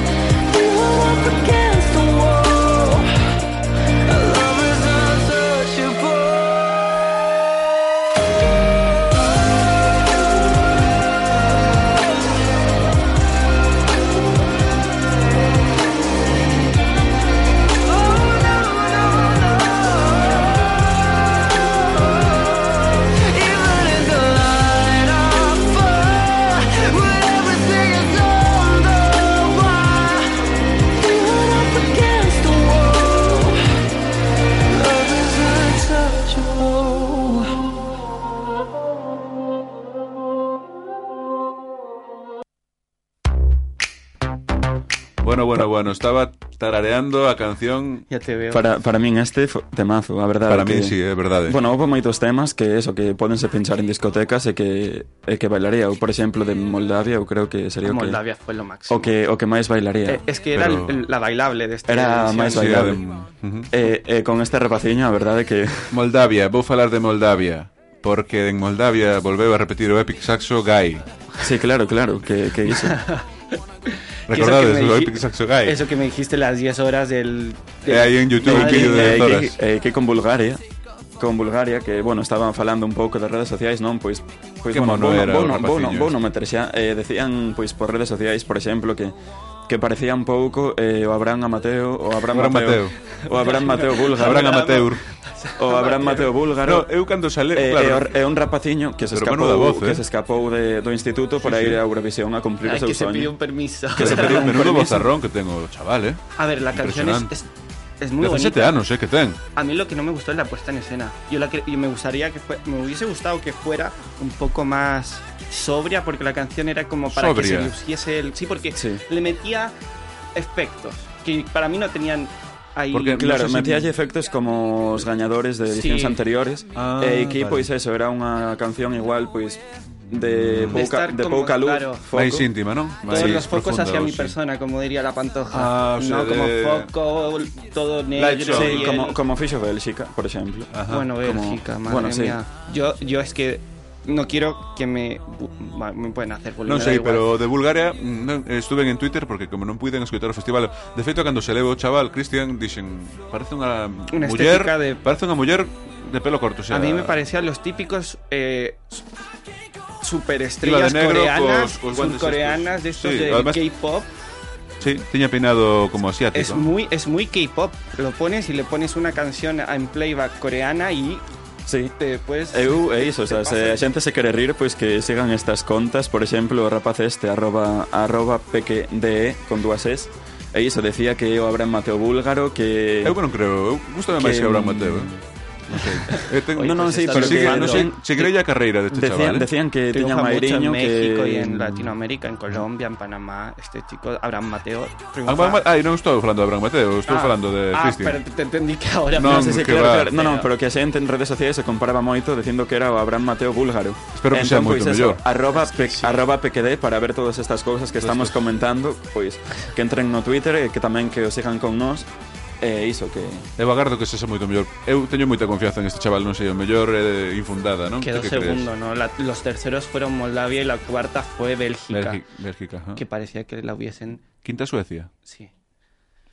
Speaker 4: we were up against the wall. Our love is Even in the light of fire, when everything is on the wire, we were up against the wall. Love is untouchable.
Speaker 1: Bueno, bueno, bueno, estaba tarareando a canción...
Speaker 3: Ya te veo.
Speaker 2: Para, para min este fo- temazo, a verdade
Speaker 1: Para
Speaker 2: que...
Speaker 1: mí, sí, ¿eh? é verdade.
Speaker 2: Bueno, houve moitos temas que eso que podense pinchar en discotecas e que e que bailaría, eu por exemplo de Moldavia, eu creo que sería o que
Speaker 3: Moldavia fue lo máximo.
Speaker 2: o que o que máis bailaría.
Speaker 3: Eh, es que era
Speaker 1: Pero-
Speaker 3: el- el- la bailable de este
Speaker 2: Era máis
Speaker 1: Sí,
Speaker 2: bailable.
Speaker 1: a de- Ujú.
Speaker 2: E, e Eh, con esta rapaciña, a verdade que
Speaker 1: Moldavia, vou falar de Moldavia Porque en Moldavia volveu a repetir o Epic Saxo Guy
Speaker 2: Sí, claro, claro, que que iso.
Speaker 1: Recordades o
Speaker 3: dij-
Speaker 1: Epic Saxo Guy?
Speaker 3: Eso que me dijiste las 10 horas del... del-
Speaker 1: É aí Eh, en YouTube un
Speaker 3: Madrid.
Speaker 1: vídeo de
Speaker 2: Eh,
Speaker 1: horas
Speaker 2: que, eh, que con Bulgaria con Bulgaria, que, bueno, estaban falando un pouco das redes sociais, non? Pois, pois
Speaker 1: Que
Speaker 2: bueno, vou,
Speaker 1: mono era
Speaker 2: vou,
Speaker 1: o
Speaker 2: non- vou, non-
Speaker 1: rapaciño
Speaker 2: vou non meter xa eh, Decían, pois, por redes sociais, por exemplo, que que parecía un pouco eh, o Abraham Amateo o Abraham,
Speaker 1: Abraham
Speaker 2: Mateo, o Abraham Mateo búlgaro
Speaker 1: Abraham Amateur
Speaker 2: o Abraham Mateo búlgaro
Speaker 1: No, eu cando sale,
Speaker 2: eh,
Speaker 1: claro
Speaker 2: é, un rapaciño que se
Speaker 1: Pero menuda
Speaker 2: escapou
Speaker 1: voz, eh.
Speaker 2: que se escapou de, do instituto para ir a Eurovisión a
Speaker 3: Ay,
Speaker 2: cumplir o seu
Speaker 3: que se pidió
Speaker 2: soño
Speaker 3: un permiso.
Speaker 1: Que se
Speaker 2: pediu
Speaker 1: pediu
Speaker 2: un
Speaker 1: menudo
Speaker 2: permiso.
Speaker 1: bozarrón que tengo o chaval, eh
Speaker 3: A ver, la canción es, es, es muy
Speaker 1: 17
Speaker 3: bonita.
Speaker 1: anos, eh, que ten
Speaker 3: A mí lo que no me gustó es la puesta en escena. Yo, la que- yo me gustaría que fue- me hubiese gustado que fuera un poco más sobria, porque la canción era como para
Speaker 1: Sobria.
Speaker 3: que se luciese el. Sí, porque
Speaker 2: Sí.
Speaker 3: le metía efectos que para mí no tenían ahí.
Speaker 1: Porque-
Speaker 2: Claro,
Speaker 1: No sé si-
Speaker 2: metíalle efectos como os gañadores de edicións
Speaker 3: Sí.
Speaker 2: anteriores Eh,
Speaker 1: Ah,
Speaker 2: E aquí,
Speaker 1: vale.
Speaker 2: pois, eso, era unha canción igual, pois de pouca,
Speaker 3: estar
Speaker 2: de
Speaker 3: como-
Speaker 2: pouca luz,
Speaker 3: claro.
Speaker 2: foco.
Speaker 1: Máis íntima, non?
Speaker 3: Todos
Speaker 1: Máis
Speaker 3: los focos
Speaker 1: profunda,
Speaker 3: hacia mi
Speaker 1: sí.
Speaker 3: persona, como diría la pantoja.
Speaker 1: Ah, o sea,
Speaker 3: no
Speaker 1: de-
Speaker 3: como foco, todo negro.
Speaker 1: show,
Speaker 3: y
Speaker 2: Sí,
Speaker 3: el-
Speaker 2: como, como fixo Bélxica, por exemplo.
Speaker 1: Ah.
Speaker 3: bueno,
Speaker 2: como-
Speaker 3: Bélgica, madre
Speaker 2: bueno, sí.
Speaker 3: mía. Yo, yo es que no quiero que me. bu- va, Me pueden hacer boludo.
Speaker 1: Non
Speaker 3: me da
Speaker 1: sei,
Speaker 3: igual.
Speaker 1: pero de Bulgaria mm, non, estuven en Twitter porque como non puiden escoitar o festival De feito, cando se leva o chaval, Cristian, dixen Parece unha,
Speaker 3: Unha
Speaker 1: muller
Speaker 3: estética de-
Speaker 1: Parece unha muller de pelo corto o sea,
Speaker 3: A mí me parecían los típicos eh, su-
Speaker 1: Iba
Speaker 3: superestrellas
Speaker 1: de negro, pues,
Speaker 3: coreanas,
Speaker 1: cos- cos guantes
Speaker 3: surcoreanas de
Speaker 1: estos.
Speaker 3: estos
Speaker 1: Sí,
Speaker 3: de
Speaker 1: además-
Speaker 3: K-pop.
Speaker 1: Sí, tiña peinado como asiático
Speaker 3: Es muy, es muy K-pop. Lo pones y le pones una canción en playback coreana y
Speaker 2: Sí.
Speaker 3: te puedes.
Speaker 1: Eh,
Speaker 2: Eu é iso, o sea,
Speaker 3: Te
Speaker 2: se a xente se quere rir, pois que sigan estas contas, por exemplo, o rapaz este, arroba, arroba pequede, con dúas es, e iso, decía que é o Abraham Mateo Búlgaro, que...
Speaker 1: Eu non creo, eu gustame máis
Speaker 2: Que,
Speaker 1: que Abraham
Speaker 2: mm,
Speaker 1: Mateo eh. Non sei Eh, ten-
Speaker 2: Non,
Speaker 3: Pois
Speaker 2: non, sí,
Speaker 3: está
Speaker 2: pero
Speaker 1: Se sigue,
Speaker 2: que...
Speaker 3: triunfando.
Speaker 1: non sei, se creía a carreira deste
Speaker 2: Decían,
Speaker 1: chaval eh.
Speaker 2: decían que tiña
Speaker 3: triunfa mucho en
Speaker 2: Mairiño
Speaker 3: México
Speaker 2: que...
Speaker 3: y en Latinoamérica, en Colombia, en Panamá. Este chico, Abraham Mateo, triunfa.
Speaker 1: Abraham Ma- Ai, non estou falando de Abraham Mateo,
Speaker 3: Ah,
Speaker 1: estou falando de
Speaker 3: Ah, pero
Speaker 1: Cristian
Speaker 3: te entendí que ahora.
Speaker 1: No,
Speaker 2: Non, sí, sí,
Speaker 1: que
Speaker 2: claro,
Speaker 1: va.
Speaker 2: claro. No, no, pero que a xente en redes sociais se comparaba moito dicindo que era o Abraham Mateo búlgaro.
Speaker 1: Espero que sea moito
Speaker 2: pois,
Speaker 1: mellor.
Speaker 2: eso, Arroba, pe, arroba PQD para ver todas estas cousas que estamos comentando, pois que entren no Twitter e que tamén que o sigan con nós. E iso que
Speaker 1: Eu agardo que se xa moito mellor Eu teño moita confianza en este chaval, non sei, o mellor eh, infundada, non?
Speaker 3: Quedó
Speaker 1: Ti que crees?
Speaker 3: segundo, ¿no? La- los terceros fueron Moldavia y la cuarta fue Bélgica.
Speaker 1: Bélgica, Bélgica ajá.
Speaker 3: Que parecía que la hubiesen.
Speaker 1: Quinta Suecia
Speaker 3: Sí.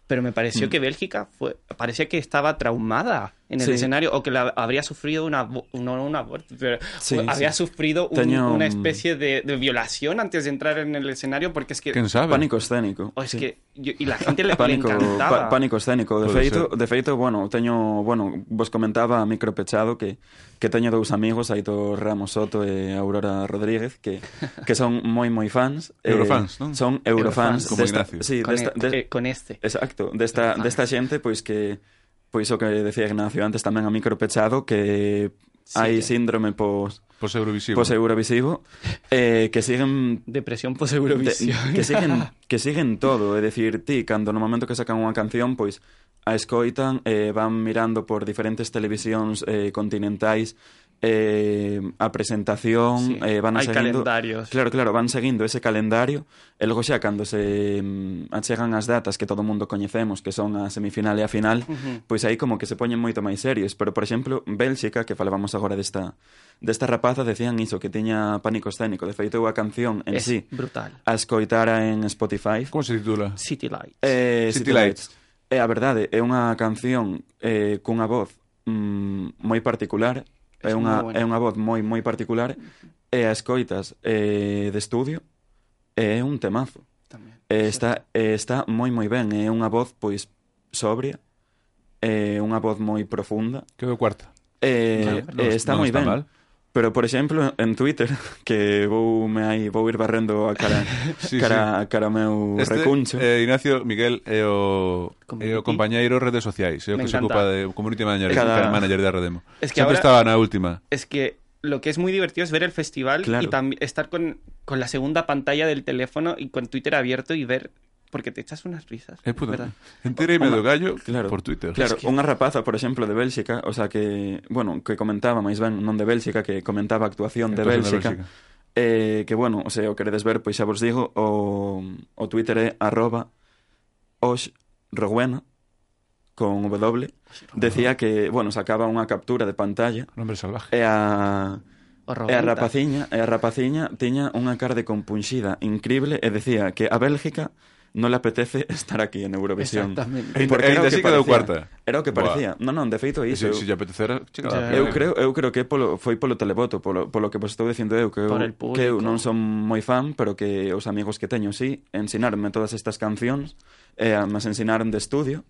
Speaker 3: Pero me
Speaker 1: Mm.
Speaker 3: pareció que Bélgica fue. Parecía que estaba traumada en el
Speaker 2: Sí.
Speaker 3: escenario o que la, habría sufrido una. abo- No, no, un aborto. pero
Speaker 2: Sí,
Speaker 3: había
Speaker 2: sí.
Speaker 3: sufrido un-
Speaker 2: Tenía un-
Speaker 3: una especie de, de violación antes de entrar en el escenario porque es que.
Speaker 1: Quen sabe?
Speaker 2: pánico escénico.
Speaker 3: o Oh, es
Speaker 2: Sí.
Speaker 3: que yo- y la gente le, le
Speaker 2: Pánico,
Speaker 3: encantaba.
Speaker 2: pa- pánico escénico, de
Speaker 1: Pode
Speaker 2: feito,
Speaker 1: ser.
Speaker 2: de feito, bueno, teño, bueno, vos comentaba a micro pechado que que teño dous amigos, Aitor Ramos Soto e Aurora Rodríguez, que que son moi moi fans, Eh,
Speaker 1: Eurofans, non?
Speaker 2: Son
Speaker 3: Eurofans.
Speaker 2: eurofans,
Speaker 1: Como
Speaker 2: desta-
Speaker 1: Ignacio.
Speaker 2: sí,
Speaker 3: con,
Speaker 2: desta,
Speaker 3: e-
Speaker 2: des-
Speaker 3: eh, con este.
Speaker 2: Exacto, desta, desta xente, pois que pois o que decía Ignacio antes tamén a micropechado que
Speaker 3: Sí.
Speaker 2: hai síndrome pos,
Speaker 1: Pos Eurovisivo
Speaker 2: pos eurovisivo eh, que siguen
Speaker 3: Depresión
Speaker 2: de-
Speaker 3: post-eurovisión.
Speaker 2: que siguen que siguen todo, é dicir, ti cando no momento que sacan unha canción, pois a escoitan, eh, van mirando por diferentes televisións eh, continentais eh, a presentación,
Speaker 3: Sí,
Speaker 2: eh, van
Speaker 3: hai
Speaker 2: seguindo...
Speaker 3: calendarios.
Speaker 2: Claro, claro, van seguindo ese calendario e logo xa cando se mm, achegan as datas que todo mundo coñecemos, que son a semifinal e a final,
Speaker 3: Ujú.
Speaker 2: pois aí como que se poñen moito máis serios, pero por exemplo, Bélxica, que falábamos agora desta desta rapaza, decían iso, que tiña pánico escénico, de feito eu a canción en
Speaker 3: es
Speaker 2: sí
Speaker 3: brutal.
Speaker 2: a escoitara en Spotify.
Speaker 1: Como se titula?
Speaker 3: City Lights.
Speaker 2: Eh,
Speaker 1: City
Speaker 2: City Lights. É a verdade, é unha canción eh, cunha voz mm, moi particular, é
Speaker 3: Es moi
Speaker 2: unha,
Speaker 3: buena.
Speaker 2: é unha voz moi moi particular, e a escoitas eh, de estudio, e é un temazo.
Speaker 3: también.
Speaker 2: E está, e está moi moi ben, é unha voz pois sobria, é unha voz moi profunda,
Speaker 1: Quedou cuarta
Speaker 2: e,
Speaker 1: Non-
Speaker 2: e Eh, está
Speaker 1: non
Speaker 2: moi ben.
Speaker 1: mal.
Speaker 2: Pero, por exemplo, en Twitter, que vou me hai, vou ir barrendo a cara,
Speaker 1: Sí,
Speaker 2: cara, cara meu
Speaker 1: Este,
Speaker 2: recuncho.
Speaker 1: eh, Ignacio Miguel é o,
Speaker 3: Community.
Speaker 1: é o compañeiro redes sociais, é o
Speaker 3: Me
Speaker 1: que se
Speaker 3: encanta.
Speaker 1: ocupa de community manager,
Speaker 2: Cada-
Speaker 1: manager de Redemo.
Speaker 3: Es que ahora-
Speaker 1: Sempre estaba na última.
Speaker 3: es que lo que es muy divertido es ver el festival
Speaker 2: Claro.
Speaker 3: y también estar con, con la segunda pantalla del teléfono y con Twitter abierto y ver, porque te echas unas risas.
Speaker 1: É puto.
Speaker 3: ¿verdad?
Speaker 1: Entereime do gallo
Speaker 2: Claro.
Speaker 1: por Twitter.
Speaker 2: Claro, unha rapaza, por exemplo, de Bélxica, o sea que, bueno, que comentaba máis ben, non de Bélxica, que comentaba a actuación de
Speaker 1: Actuación de
Speaker 2: Bélxica. Eh, que bueno, o se o queredes ver, pois xa vos digo, o, o Twitter é arroba oxroguena con W. Decía que, bueno, sacaba unha captura de pantalla
Speaker 1: Nombre salvaje.
Speaker 2: e a
Speaker 3: O
Speaker 2: E a
Speaker 3: Roberta.
Speaker 2: rapaciña, e a rapaciña tiña unha cara de compunxida increíble e decía que a Bélgica non le apetece estar aquí en Eurovisión.
Speaker 3: Exactamente.
Speaker 1: Ainda-
Speaker 2: Porque era o
Speaker 1: ainda
Speaker 2: que
Speaker 1: así quedou
Speaker 2: parecía.
Speaker 1: cuarta. Eh,
Speaker 2: Era o que parecía. Non, non, de feito é
Speaker 1: E
Speaker 2: iso. Eu,
Speaker 1: se, se lle apetecera, chega
Speaker 3: Ya.
Speaker 1: lá.
Speaker 2: eu creo, eu creo que polo, foi polo televoto, polo, polo que vos estou dicindo eu, que eu,
Speaker 3: Por el público.
Speaker 2: que eu non son moi fan, pero que os amigos que teño, sí, ensinarme todas estas cancións, e eh, mas ensinaron de estudio,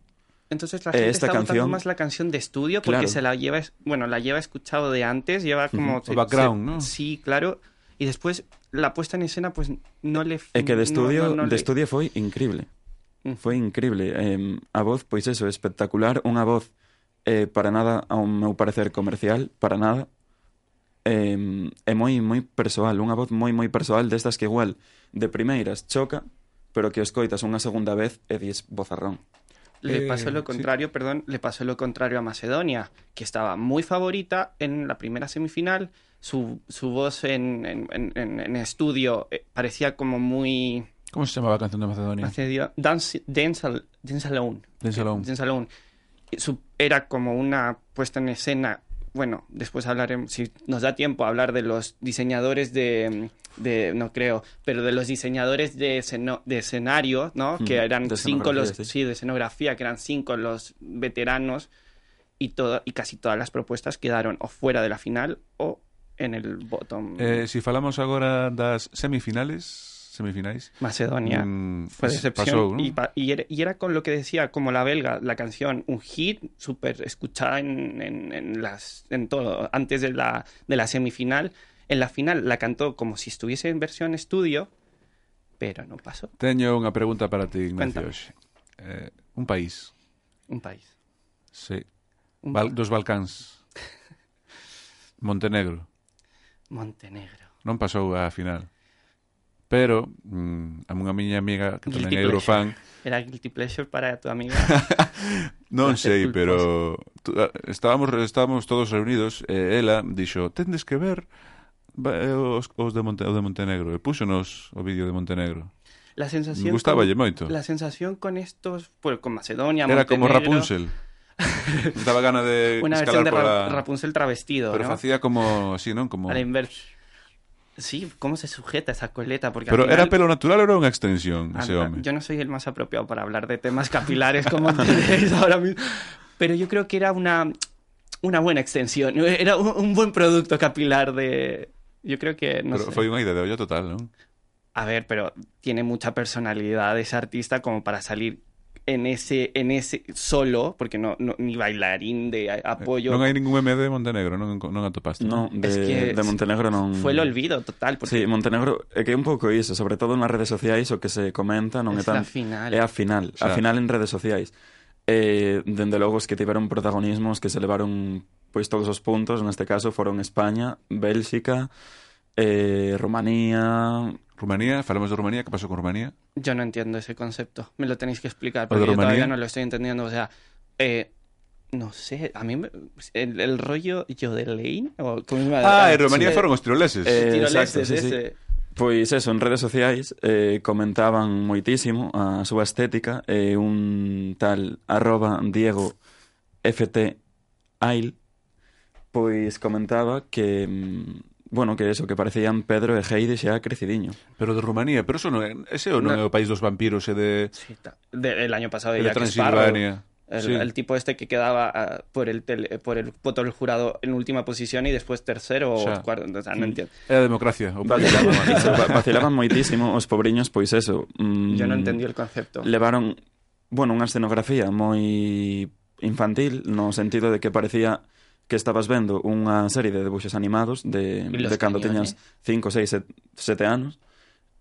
Speaker 3: Entonces la gente
Speaker 2: Eh, esta
Speaker 3: está votando
Speaker 2: canción-
Speaker 3: más la canción de estudio porque
Speaker 2: Claro.
Speaker 3: se la lleva, es- bueno, la lleva escuchado de antes, lleva como...
Speaker 1: O background, ¿no?
Speaker 3: Sí, claro. Y después la puesta en escena pues no le...
Speaker 2: E que
Speaker 3: no-
Speaker 2: de estudio,
Speaker 3: no- no
Speaker 2: de
Speaker 3: le-
Speaker 2: estudio foi increíble.
Speaker 3: Mm.
Speaker 2: Foi increíble. Eh, a voz, pois eso, espectacular. Unha voz eh, para nada, ao meu parecer, comercial, para nada. Eh, é moi moi persoal, unha voz moi moi persoal destas que igual de primeiras choca, pero que o escoitas unha segunda vez e dis bozarrón.
Speaker 3: Le
Speaker 1: Eh,
Speaker 3: pasó lo contrario, perdón, le pasó lo contrario a Macedonia, que estaba muy favorita en la primera semifinal, su, su voz en, en- en- en- en estudio eh, parecía como muy...
Speaker 5: ¿Cómo se llamaba la canción de Macedonia?
Speaker 3: hace- Dance, dance, al- dance Alone.
Speaker 5: Dance Alone.
Speaker 3: Dance Alone. Y su- era como una puesta en escena. Bueno, después hablaremos, si nos da tiempo, hablar de los diseñadores de, de- no creo, pero de los diseñadores de, esceno- de escenario, ¿no?
Speaker 2: Mm,
Speaker 3: que eran
Speaker 2: de
Speaker 3: cinco los,
Speaker 2: escenografía, sí.
Speaker 3: sí, de escenografía, que eran cinco los veteranos y, todo, y casi todas las propuestas quedaron o fuera de la final o en el bottom.
Speaker 1: Eh, si falamos agora das semifinales, semifinais,
Speaker 3: Macedonia
Speaker 1: mm,
Speaker 3: fue
Speaker 1: se
Speaker 3: decepción.
Speaker 1: pasou,
Speaker 3: Pues y,
Speaker 1: non?
Speaker 3: pa- y era, y era con lo que decía, como la belga, la canción, un hit súper escuchada en, en- en las, en todo, antes de la, de la semifinal. En la final la cantó como si estuviese en versión estudio, pero no pasó.
Speaker 1: Teño unha pregunta para ti, Ignacio.
Speaker 3: Cuéntame.
Speaker 1: hoxe. Eh, un país,
Speaker 3: Un país.
Speaker 1: sí,
Speaker 3: Un
Speaker 1: Val-
Speaker 3: pa-
Speaker 1: dos Balcáns. Montenegro.
Speaker 3: Montenegro.
Speaker 1: non pasou a final. Pero mm, a unha miña amiga que tamén
Speaker 3: Guilty
Speaker 1: é
Speaker 3: pleasure.
Speaker 1: Eurofan,
Speaker 3: Era guilty pleasure para tu amiga.
Speaker 1: non
Speaker 3: Placer
Speaker 1: sei, pero tu- a- estábamos estábamos todos reunidos e ela dixo, "Tendes que ver ba- eh, os, os de, Monte, o de Montenegro." E púxonos o vídeo de Montenegro.
Speaker 3: La sensación.
Speaker 1: Me gustaballe moito.
Speaker 3: La sensación con estos, pues, con Macedonia,
Speaker 1: Era como
Speaker 3: Montenegro,
Speaker 1: Rapunzel. Daba gana de
Speaker 3: Una versión
Speaker 1: escalar
Speaker 3: de Ra-
Speaker 1: pola...
Speaker 3: Rapunzel travestido.
Speaker 1: pero
Speaker 3: ¿no?
Speaker 1: facía como, sí, non, como
Speaker 3: A la inversa. Sí, ¿cómo se sujeta esa coleta? Porque al
Speaker 1: Pero
Speaker 3: final-
Speaker 1: era pelo natural ou era unha extensión ese
Speaker 3: Anda,
Speaker 1: home?
Speaker 3: Yo no soy el más apropiado para hablar de temas capilares como ustedes ahora mismo. Pero yo creo que era una, una buena extensión. Era un, un buen producto capilar de. Yo creo que. No sé.
Speaker 1: pero foi unha idea de olla total, non?
Speaker 3: A ver, pero tiene mucha personalidad ese artista como para salir en ese, en ese solo, porque no, no- ni bailarín de a- apoyo.
Speaker 1: Non hai ningún meme de Montenegro, non, non atopaste.
Speaker 2: No, de,
Speaker 3: Es que
Speaker 2: de Montenegro non...
Speaker 3: Fue el olvido total, porque
Speaker 2: Sí, Montenegro é que é un pouco iso, sobre todo nas redes sociais o que se comenta non é
Speaker 3: es la
Speaker 2: tan...
Speaker 3: final.
Speaker 2: É a final, a
Speaker 1: Xa.
Speaker 2: final en redes sociais. E, dende logo, os que tiveron protagonismos que se levaron pois todos os puntos, neste caso foron España, Bélxica, eh, Rumanía...
Speaker 1: Rumanía, falamos de Rumanía, que pasou con Rumanía?
Speaker 3: Yo no entiendo ese concepto. Me lo tenéis que explicar
Speaker 1: ¿O de
Speaker 3: porque yo todavía
Speaker 1: Rumanía?
Speaker 3: no lo estoy entendiendo. O sea, eh, no sé. A mí me- el, el rollo yo de Lane o cómo se llama?
Speaker 1: Ah, en Rumanía
Speaker 3: sí.
Speaker 1: foron os tiroleses.
Speaker 2: Eh,
Speaker 3: Tiroleses,
Speaker 2: exacto, sí, sí.
Speaker 3: ese.
Speaker 2: Pois eso, en redes sociais eh, comentaban moitísimo a súa estética e un tal arroba Diego FT Ail pois comentaba que mm, bueno, que eso, que parecían Pedro e Heidi xa crecidiño.
Speaker 1: Pero de Rumanía, pero eso non é, ese o non é
Speaker 3: No.
Speaker 1: o país dos vampiros e de,
Speaker 3: Sí, ta- de- el año pasado
Speaker 1: e
Speaker 3: de
Speaker 1: de
Speaker 3: Jack Sparrow.
Speaker 1: Transilvania.
Speaker 3: El,
Speaker 1: sí.
Speaker 3: el tipo este que quedaba ah, por el tele- por el voto del jurado en última posición y después tercero
Speaker 1: Ya. Mm.
Speaker 3: o cuarto. O sea, no entiendo.
Speaker 1: É a democracia. O país.
Speaker 2: Vacilaban, iso, va- vacilaban moitísimo os pobriños, pois eso. mm,
Speaker 3: Yo no entendí el concepto.
Speaker 2: Levaron, bueno, unha escenografía moi infantil no sentido de que parecía que estabas vendo unha serie de debuxos animados de,
Speaker 3: Los
Speaker 2: de cando
Speaker 3: cañones.
Speaker 2: teñas 5, 6, 7 anos.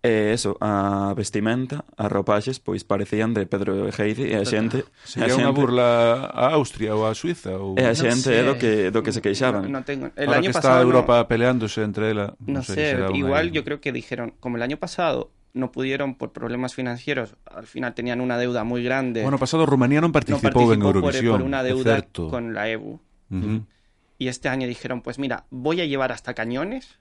Speaker 2: E eso, a vestimenta, as ropaxes, pois parecían de Pedro e Heidi e a xente... e a
Speaker 1: Sería unha
Speaker 2: xente-
Speaker 1: burla a Austria ou a Suiza ou
Speaker 2: E a
Speaker 3: No
Speaker 2: xente é
Speaker 3: sé.
Speaker 2: do que, do que se queixaban.
Speaker 3: No, no tengo. El Eh,
Speaker 1: Ahora
Speaker 3: año
Speaker 1: que está
Speaker 3: pasado no-
Speaker 1: Europa peleándose entre ela,
Speaker 3: No, sé,
Speaker 1: será unha-
Speaker 3: igual yo creo que dijeron, como el año pasado no pudieron por problemas financieros, al final tenían una deuda muy grande.
Speaker 1: Bueno, pasado Rumanía non
Speaker 3: no
Speaker 1: participou, en
Speaker 3: por- eh, por,
Speaker 1: Eurovisión,
Speaker 3: una
Speaker 1: é
Speaker 3: deuda
Speaker 1: certo.
Speaker 3: con la EBU.
Speaker 1: Ujú.
Speaker 3: Y este año dijeron, pues mira, voy a llevar hasta cañones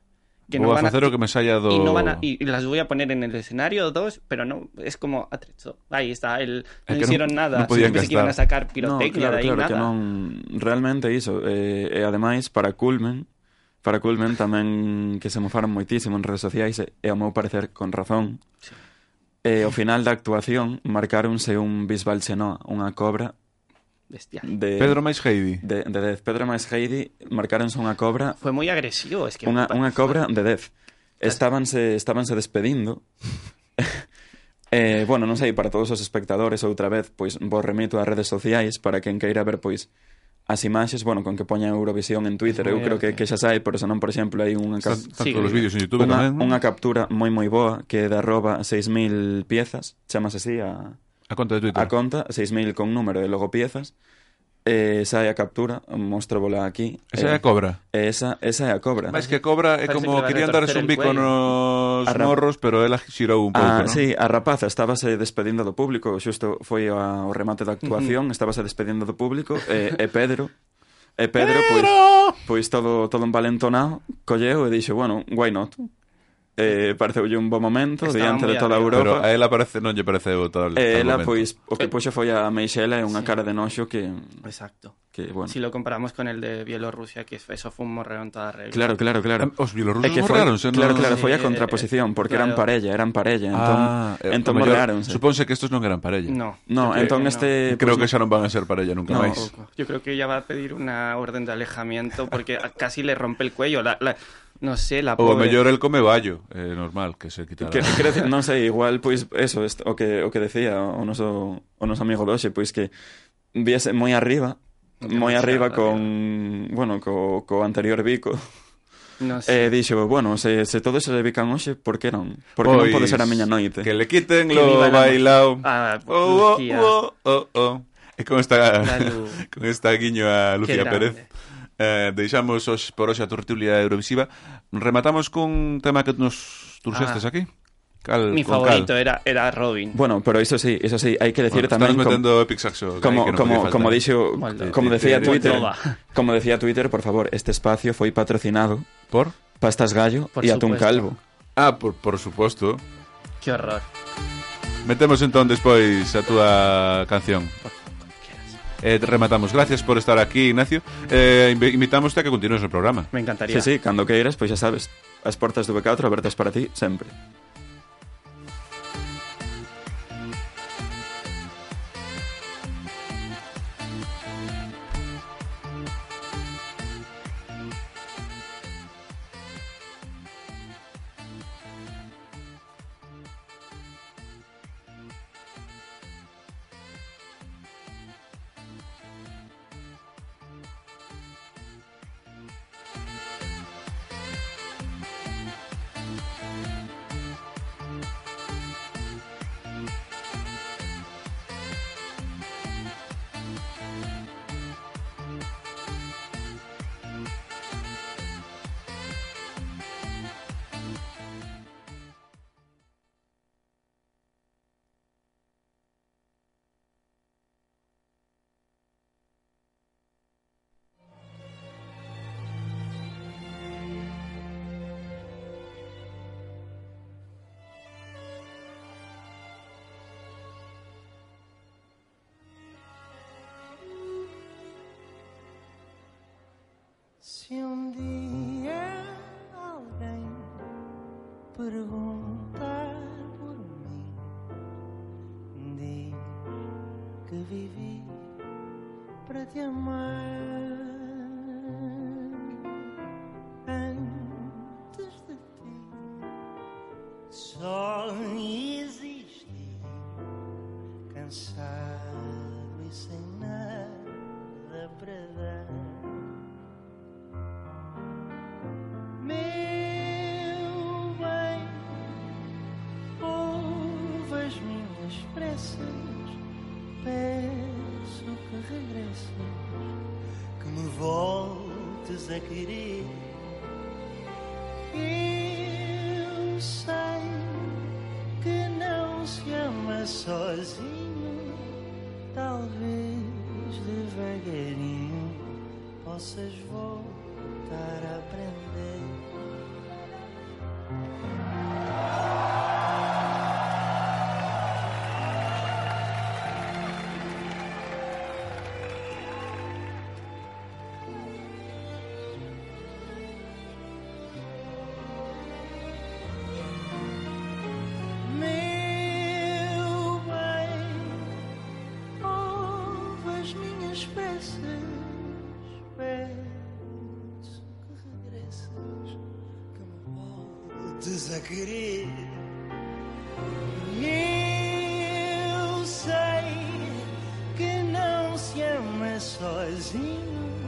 Speaker 3: que
Speaker 1: Vou
Speaker 3: no
Speaker 1: Pues a
Speaker 3: van a,
Speaker 1: facer o que me saia do
Speaker 3: y no van a- y las voy a poner en el escenario dos, pero no es como atrezo. Ahí está, el,
Speaker 1: que
Speaker 3: no
Speaker 1: no-
Speaker 3: hicieron nada,
Speaker 1: no podían
Speaker 3: pensé que iban a
Speaker 1: gastar.
Speaker 3: sacar pirotecnia
Speaker 2: no, claro,
Speaker 3: de ahí
Speaker 2: claro, que
Speaker 3: nada.
Speaker 2: non realmente iso eh, e ademais para Culmen para Culmen tamén que se mofaron moitísimo en redes sociais e, e ao meu parecer con razón
Speaker 3: Sí.
Speaker 2: e ao final da actuación marcaronse un Bisbal Chenoa unha cobra
Speaker 3: Bestia.
Speaker 2: de
Speaker 1: Pedro máis Heidi.
Speaker 2: de, de Dez Pedro máis Heidi marcaronse unha cobra
Speaker 3: Fue muy agresivo, es que pa-
Speaker 2: unha, unha cobra de Dez estábanse, estábanse despedindo Eh, bueno, non sei, para todos os espectadores outra vez, pois vos remito ás redes sociais para quen queira ver, pois, as imaxes, bueno, con que poña Eurovisión en Twitter, eu creo que, que xa sai, pero senón, por exemplo, hai unha, cap
Speaker 1: Están, están
Speaker 3: Sí,
Speaker 1: todos os vídeos en YouTube
Speaker 2: unha,
Speaker 1: tamén. non?
Speaker 2: unha captura moi moi boa que é de arroba 6.000 piezas, chamase así a,
Speaker 1: A conta de Twitter.
Speaker 2: a conta, 6.000 con número e logo piezas, eh, sai a captura, mostrovola aquí.
Speaker 1: Esa é
Speaker 2: eh,
Speaker 1: a cobra.
Speaker 2: e esa, esa é a cobra.
Speaker 1: Máis que cobra é
Speaker 3: Parece que le van
Speaker 1: como
Speaker 3: a
Speaker 1: querían darse
Speaker 3: torcer
Speaker 1: un
Speaker 3: el
Speaker 1: bico
Speaker 3: cuello.
Speaker 1: nos
Speaker 2: Arran-
Speaker 1: morros, pero ela xirou un pouco,
Speaker 2: Ah,
Speaker 1: non?
Speaker 2: sí, a rapaza estábase despedindo do público, xusto foi a, o remate da actuación, estábase despedindo do público, e, e Pedro E Pedro, pois, pois todo, todo envalentonado, colleu e dixo, bueno, why not? Eh, pareceulle un bo momento
Speaker 3: Estaba
Speaker 2: diante
Speaker 3: moi
Speaker 2: de toda a
Speaker 3: arriba.
Speaker 1: Pero
Speaker 2: Europa.
Speaker 1: a ela parece, non lle pareceu
Speaker 2: e
Speaker 1: tal, tal
Speaker 2: ela,
Speaker 1: momento.
Speaker 2: pois, o que puxo foi a Meixela e unha
Speaker 3: Sí.
Speaker 2: cara de noxo que,
Speaker 3: Exacto.
Speaker 2: que bueno.
Speaker 3: Si lo comparamos con el de Bielorrusia, que eso fue un morreo en toda regla.
Speaker 2: Claro, claro, claro.
Speaker 1: Os bielorrusos
Speaker 2: É que foi,
Speaker 1: morrearonse, non?
Speaker 2: claro, claro, foi a
Speaker 3: Sí,
Speaker 2: contraposición, porque
Speaker 3: claro.
Speaker 2: eran parella, eran parella, entón,
Speaker 1: Ah, eh,
Speaker 2: entón
Speaker 1: o mellor,
Speaker 2: morreáronse.
Speaker 1: Supónse que estos non eran parella.
Speaker 3: No.
Speaker 2: No,
Speaker 1: que-
Speaker 2: entón
Speaker 3: no.
Speaker 2: este...
Speaker 1: Creo que
Speaker 2: pois,
Speaker 1: xa non van a ser parella nunca
Speaker 2: No,
Speaker 1: máis.
Speaker 3: Tampoco. Yo creo que ella va a pedir una orden de alejamiento porque a- casi le rompe el cuello. La, la- no sé, la
Speaker 1: Ou a
Speaker 3: pobre.
Speaker 1: mellor el come vallo, eh, normal, que se quitara.
Speaker 2: Que, que decir, non sei, igual, pois, eso, est- o que, o que decía o noso, o noso amigo doxe, pois que viese moi arriba, moi
Speaker 3: Demasiado
Speaker 2: arriba con, bueno, co, co anterior bico,
Speaker 1: eh,
Speaker 3: No sé.
Speaker 2: e dixo, bueno, se, se todos se bican hoxe, por que non? Por que non pode ser a miña noite?
Speaker 1: Pois Que le quiten
Speaker 3: Que
Speaker 1: lo
Speaker 3: viva la-
Speaker 1: bailao.
Speaker 3: Ah,
Speaker 1: Oh, oh,
Speaker 3: Lucía.
Speaker 1: oh, oh, oh. E con esta,
Speaker 3: La Lu.
Speaker 1: con esta guiño a Lucía
Speaker 3: grande.
Speaker 1: Pérez eh, Deixamos os por hoxe a tertulia eurovisiva Rematamos cun tema que nos turxestes
Speaker 3: Ah.
Speaker 1: aquí cal,
Speaker 3: Mi
Speaker 1: con
Speaker 3: favorito eh. era,
Speaker 1: cal.
Speaker 3: era Robin.
Speaker 2: Bueno, pero iso sí, iso sí, hai que decir
Speaker 1: Bueno,
Speaker 2: tamén...
Speaker 1: Estamos
Speaker 2: como-
Speaker 1: metendo Epic Saxo que
Speaker 2: Como,
Speaker 1: aí que non podía
Speaker 2: como,
Speaker 1: faltar.
Speaker 2: como dixo,
Speaker 3: Moldova.
Speaker 2: como decía
Speaker 1: Moldova.
Speaker 2: Twitter, como decía Twitter, por favor, este espacio foi patrocinado
Speaker 1: Por?
Speaker 2: Pastas Gallo
Speaker 3: Por
Speaker 2: y Atún
Speaker 3: supuesto.
Speaker 2: Calvo.
Speaker 1: Ah, por, por suposto
Speaker 3: Qué horror.
Speaker 1: Metemos entón despois a túa canción Eh, rematamos. Gracias por estar aquí, Ignacio. Eh, invi- invitamos a que continúes o programa.
Speaker 3: Me encantaría.
Speaker 2: Sí, sí, cando queiras, pois xa sabes, as portas do BK4 abertas para ti sempre.
Speaker 5: Si un día alguien pregunta por mí, di que viví para te amar. Antes de ti só existi cansado e sem nada para dar. Meu bem, ouve as minhas pressas, peço que regresses, que me voltes a querer. Eu sei que não se ama sozinho, talvez devagarinho possas voltar a aprender. Meu bem, ouve as minhas peças, peço que regresses, que me voltes a querer. Eu sei que não se ama sozinho,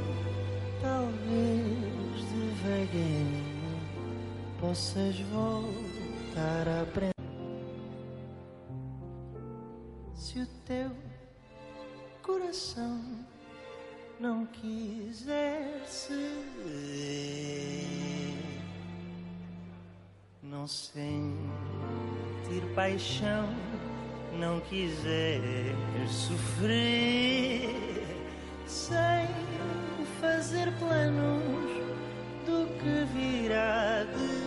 Speaker 5: talvez devagarinho possas voltar a aprender. Se o teu coração não quiser ceder, não sentir paixão, não quiser sofrer sem fazer planos do que virá depois.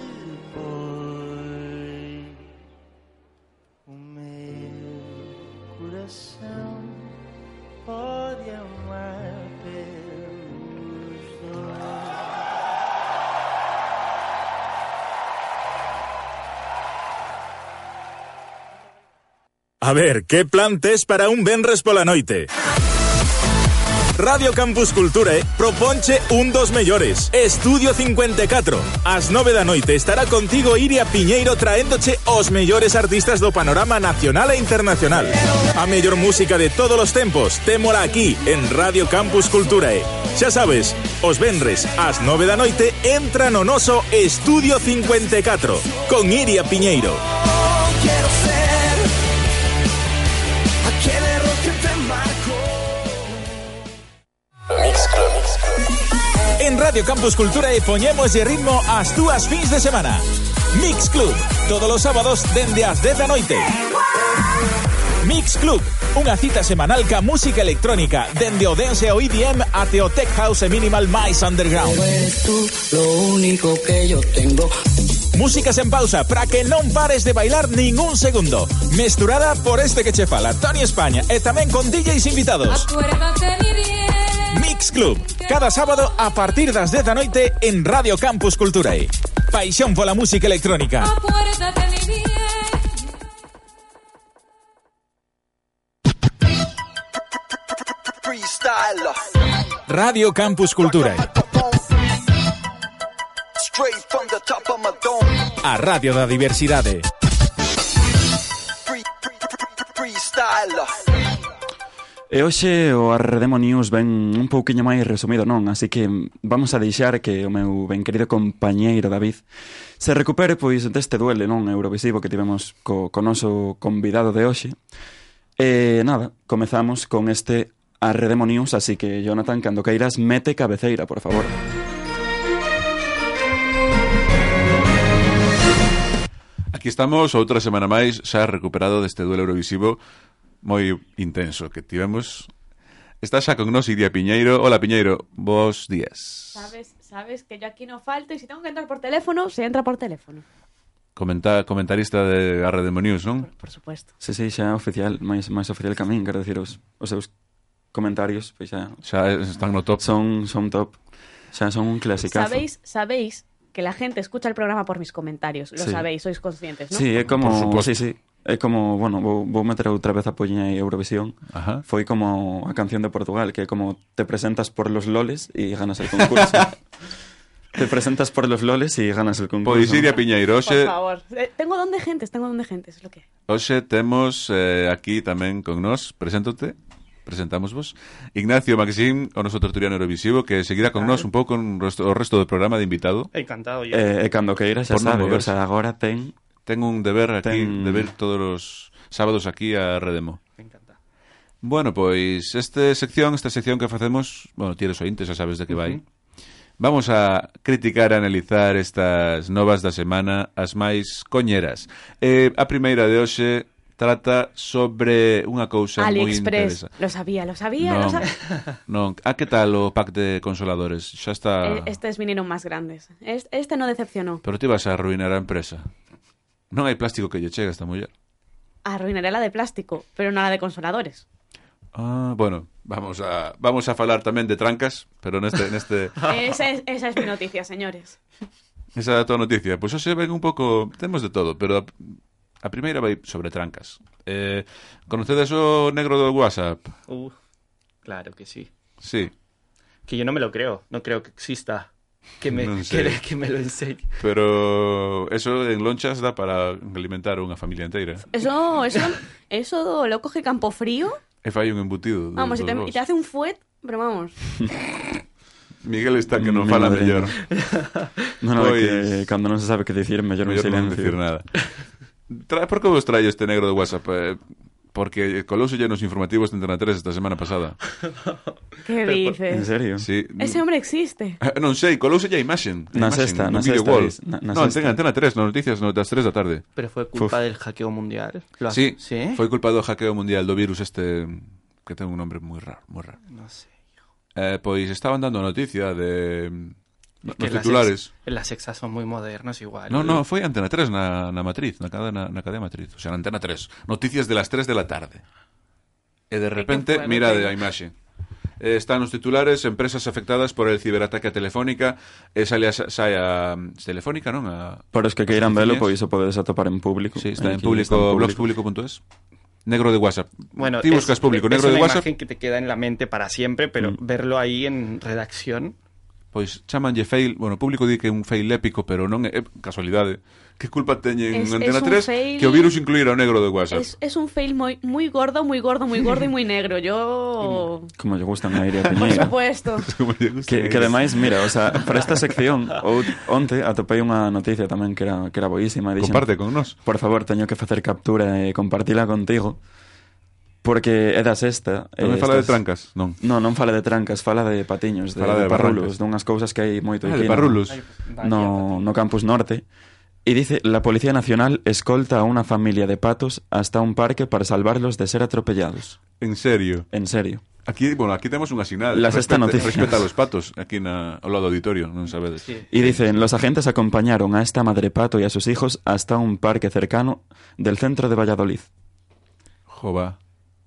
Speaker 5: O meu coração pode amar pelos dois.
Speaker 6: A ver, què plan tens per a un vendres por la noite? Radio Campus Cultura E proponche un dos mellores. Estudio 54. As 9 da noite estará contigo Iria Piñeiro traéndoche os mellores artistas do panorama nacional e internacional. A mellor música de todos os tempos, témola aquí en Radio Campus Culturae. Xa sabes, os vendres ás 9 da noite entra no noso Estudio 54 con Iria Piñeiro.
Speaker 4: Quiero ser aquel error que te marcó.
Speaker 6: En Radio Campus Cultura e poñemos de ritmo as túas fins de semana. Mix Club, todos os sábados dende as 10 da noite. Mix Club, unha cita semanal ca música electrónica dende o E dance ao EDM ate o tech house e minimal máis underground.
Speaker 7: Eres tú lo único que yo tengo.
Speaker 6: Músicas en pausa para que non pares de bailar ningún segundo. Mesturada por este que che fala, Tony España, e tamén con DJs invitados.
Speaker 8: Acuérdate mi bien.
Speaker 6: Mix Club, cada sábado a partir das 10 da noite en Radio Campus Culturae. Paixón pola música electrónica.
Speaker 8: Acuérdate mi bien.
Speaker 4: Freestyler,
Speaker 6: Radio Campus E. Culturae,
Speaker 4: straight from the top of my dome.
Speaker 6: a Radio da Diversidade.
Speaker 4: Free, free, free- freestyler.
Speaker 2: E hoxe o Arredemo News ven un pouquiño máis resumido, non? Así que mm, vamos a deixar que o meu ben querido compañeiro David se recupere pois deste duele, non? Eurovisivo que tivemos co, co noso convidado de hoxe. E nada, comezamos con este Arredemo News, así que Jonathan, cando queiras, mete cabeceira, por favor.
Speaker 1: Aquí estamos outra semana máis xa recuperado deste duelo eurovisivo moi intenso que tivemos. Está xa con nós Iria Piñeiro. Hola Piñeiro, bos días.
Speaker 9: Sabes, sabes que yo aquí no falto y si tengo que entrar por teléfono, se entra por teléfono.
Speaker 1: Comenta, comentarista de Arredemo News, non?
Speaker 9: Por, por supuesto.
Speaker 2: Sí, sí, xa oficial, máis, máis oficial que a min, quero dicir, os, os seus comentarios, pois xa
Speaker 1: Xa están no top.
Speaker 2: son, son top, xa son un clasicazo.
Speaker 9: Sabéis, sabéis que la gente escucha el programa por mis comentarios. Lo
Speaker 2: Sí.
Speaker 9: sabéis, sois conscientes, ¿no?
Speaker 2: Sí, é como,
Speaker 1: Por supuesto.
Speaker 2: sí, sí, é como, bueno, vou, vou meter outra vez a poña aí Eurovisión.
Speaker 1: Ajá.
Speaker 2: Foi como a canción de Portugal, que é como te presentas por los loles e ganas el concurso. te presentas por los loles e ganas el concurso.
Speaker 1: Pois Iria Piñeiro,
Speaker 9: Por
Speaker 1: hoxe,
Speaker 9: favor. Eh, Tengo don de gentes, tengo don de gentes, es lo que hay.
Speaker 1: hoxe temos eh, aquí tamén con nós, preséntote, presentamos vos, Ignacio Maxim, o noso torturiano eurovisivo, que seguirá con nós un pouco un resto, o resto do programa de invitado.
Speaker 3: Encantado yo.
Speaker 2: Eh, e cando queira, xa
Speaker 1: Por non
Speaker 2: sabe, o
Speaker 1: moverse.
Speaker 2: sea, agora ten...
Speaker 1: Tengo un deber aquí,
Speaker 2: Ten-
Speaker 1: deber todos os sábados aquí a Redemo.
Speaker 3: Me encanta.
Speaker 1: Bueno, pois este sección, esta sección que facemos, bueno, tires ointes, xa sabes de que vai. Vamos a criticar e analizar estas novas da semana, as máis coñeras. Eh, a primeira de hoxe trata sobre unha cousa moi
Speaker 9: AliExpress.
Speaker 1: interesante.
Speaker 9: Lo sabía, lo sabía, lo sabía.
Speaker 1: non, a que tal o pack de consoladores? Xa está...
Speaker 9: Eh, Estes vinieron más grandes. Es- Este no decepcionó.
Speaker 1: Pero te vas a arruinar a empresa. Non hai plástico que lle chega a esta muller.
Speaker 9: Arruinaré la de plástico, pero no la de consoladores.
Speaker 1: Ah, bueno, vamos a vamos a falar tamén de trancas, pero neste neste
Speaker 9: Esa es, esa es mi noticia, señores.
Speaker 1: esa é a tua noticia. Pois hoxe ven un pouco, temos de todo, pero a, a primeira vai sobre trancas. Eh, conocedes o negro do WhatsApp?
Speaker 3: Uh, claro que sí.
Speaker 1: Sí,
Speaker 3: Que yo no me lo creo. No creo que exista. Que me,
Speaker 1: No sé.
Speaker 3: que, que me lo enseñe.
Speaker 1: pero eso en lonchas dá para alimentar unha familia enteira.
Speaker 9: Eso, eso, eso lo coge Campofrío.
Speaker 1: E fai un embutido. dos-
Speaker 9: Vamos, y
Speaker 1: dos
Speaker 9: te,
Speaker 1: vos.
Speaker 9: y te hace un fuet, pero vamos.
Speaker 1: Miguel está que non
Speaker 2: Mi
Speaker 1: fala
Speaker 2: madre.
Speaker 1: mellor.
Speaker 2: Non, non,
Speaker 1: Pois-
Speaker 2: que cando non se sabe que dicir, mellor un
Speaker 1: Mellor non
Speaker 2: silencio.
Speaker 1: decir nada. Tra, por que vos traio este negro do WhatsApp? Eh, porque coloso nos informativos de Antena 3 esta semana pasada.
Speaker 9: ¿Qué
Speaker 2: En
Speaker 9: dices?
Speaker 2: serio?
Speaker 1: Sí.
Speaker 9: Ese hombre existe.
Speaker 1: Ah, Non sei, colouse a imaxen. a
Speaker 2: Na
Speaker 1: imaxen
Speaker 2: sexta,
Speaker 1: dun
Speaker 2: na sexta,
Speaker 1: videowall.
Speaker 2: dis- na- na
Speaker 1: non, ten
Speaker 2: sexta.
Speaker 1: antena 3, nas noticias no, das 3 da tarde.
Speaker 3: Pero fue culpa
Speaker 2: Uf.
Speaker 3: del hackeo mundial. Lo has-
Speaker 1: Sí,
Speaker 3: ¿Sí?
Speaker 1: foi culpa do hackeo mundial do virus este que ten un nombre moi raro, moi raro.
Speaker 3: No sé.
Speaker 1: Eh, pois estaban dando noticia de
Speaker 3: Es
Speaker 1: nos
Speaker 3: que en las
Speaker 1: titulares.
Speaker 3: ex- en Las exas son muy modernos igual.
Speaker 1: No, no, foi Antena 3 na, na matriz, na cadena, na cadena matriz, o sea, na Antena 3. Noticias de las 3 de la tarde. E de repente,
Speaker 9: fue,
Speaker 1: mira
Speaker 9: Antena?
Speaker 1: a imaxe. Eh, están os titulares, empresas afectadas por el ciberataque a Telefónica, e sale a, sai a Telefónica, non? A,
Speaker 2: Para os que queiran velo, pois
Speaker 1: Noticias.
Speaker 2: o podedes atopar en público.
Speaker 1: sí, está
Speaker 2: Aquí está en
Speaker 1: en público, blogspublico.es. Negro de WhatsApp.
Speaker 3: Bueno,
Speaker 1: Ti buscas público,
Speaker 3: es
Speaker 1: negro de
Speaker 3: una
Speaker 1: WhatsApp, Mm.
Speaker 3: imagen que te queda en la mente para siempre, pero verlo ahí en redacción.
Speaker 1: pois chamanlle fail, bueno, público di que é un fail épico, pero non é, é casualidade. Que culpa teñen
Speaker 9: Es- es
Speaker 1: Antena
Speaker 9: un
Speaker 1: 3
Speaker 9: fail-
Speaker 1: que o virus incluíra o negro de WhatsApp?
Speaker 9: Es, es un fail muy, muy gordo, muy gordo, muy gordo y muy negro. Yo.
Speaker 2: Como lle gustan a Iria
Speaker 9: Por
Speaker 2: Piñeira.
Speaker 9: supuesto.
Speaker 1: Como lle gusta
Speaker 2: Que,
Speaker 1: eh,
Speaker 2: que
Speaker 1: negro.
Speaker 2: ademais, mira, o sea, para esta sección ou, onte atopei unha noticia tamén que era, que era boísima e dixen,
Speaker 1: Comparte con nós.
Speaker 2: por favor, teño que facer captura e compartila contigo porque é da sexta eh,
Speaker 1: Non me fala de
Speaker 2: estas-
Speaker 1: trancas, non.
Speaker 2: No, non fala de trancas, fala de patiños, de,
Speaker 1: Fala
Speaker 2: de,
Speaker 1: de
Speaker 2: parrulos,
Speaker 1: barrancas.
Speaker 2: dunhas cousas que hai moito
Speaker 1: Ah,
Speaker 2: aquí
Speaker 1: de
Speaker 2: no-
Speaker 1: parrulos.
Speaker 2: no, no campus norte. Y dice, la Policía Nacional escolta a una familia de patos hasta un parque para salvarlos de ser atropellados.
Speaker 1: En serio.
Speaker 2: En serio.
Speaker 1: Aquí, bueno, aquí temos unha sinal.
Speaker 2: La sexta
Speaker 1: Respete-
Speaker 2: noticia.
Speaker 1: Respeta a los patos aquí na, ao lado do auditorio, non sabedes.
Speaker 3: Sí.
Speaker 2: Y dicen, los agentes acompañaron a esta madre pato y a sus hijos hasta un parque cercano del centro de Valladolid.
Speaker 1: Jova,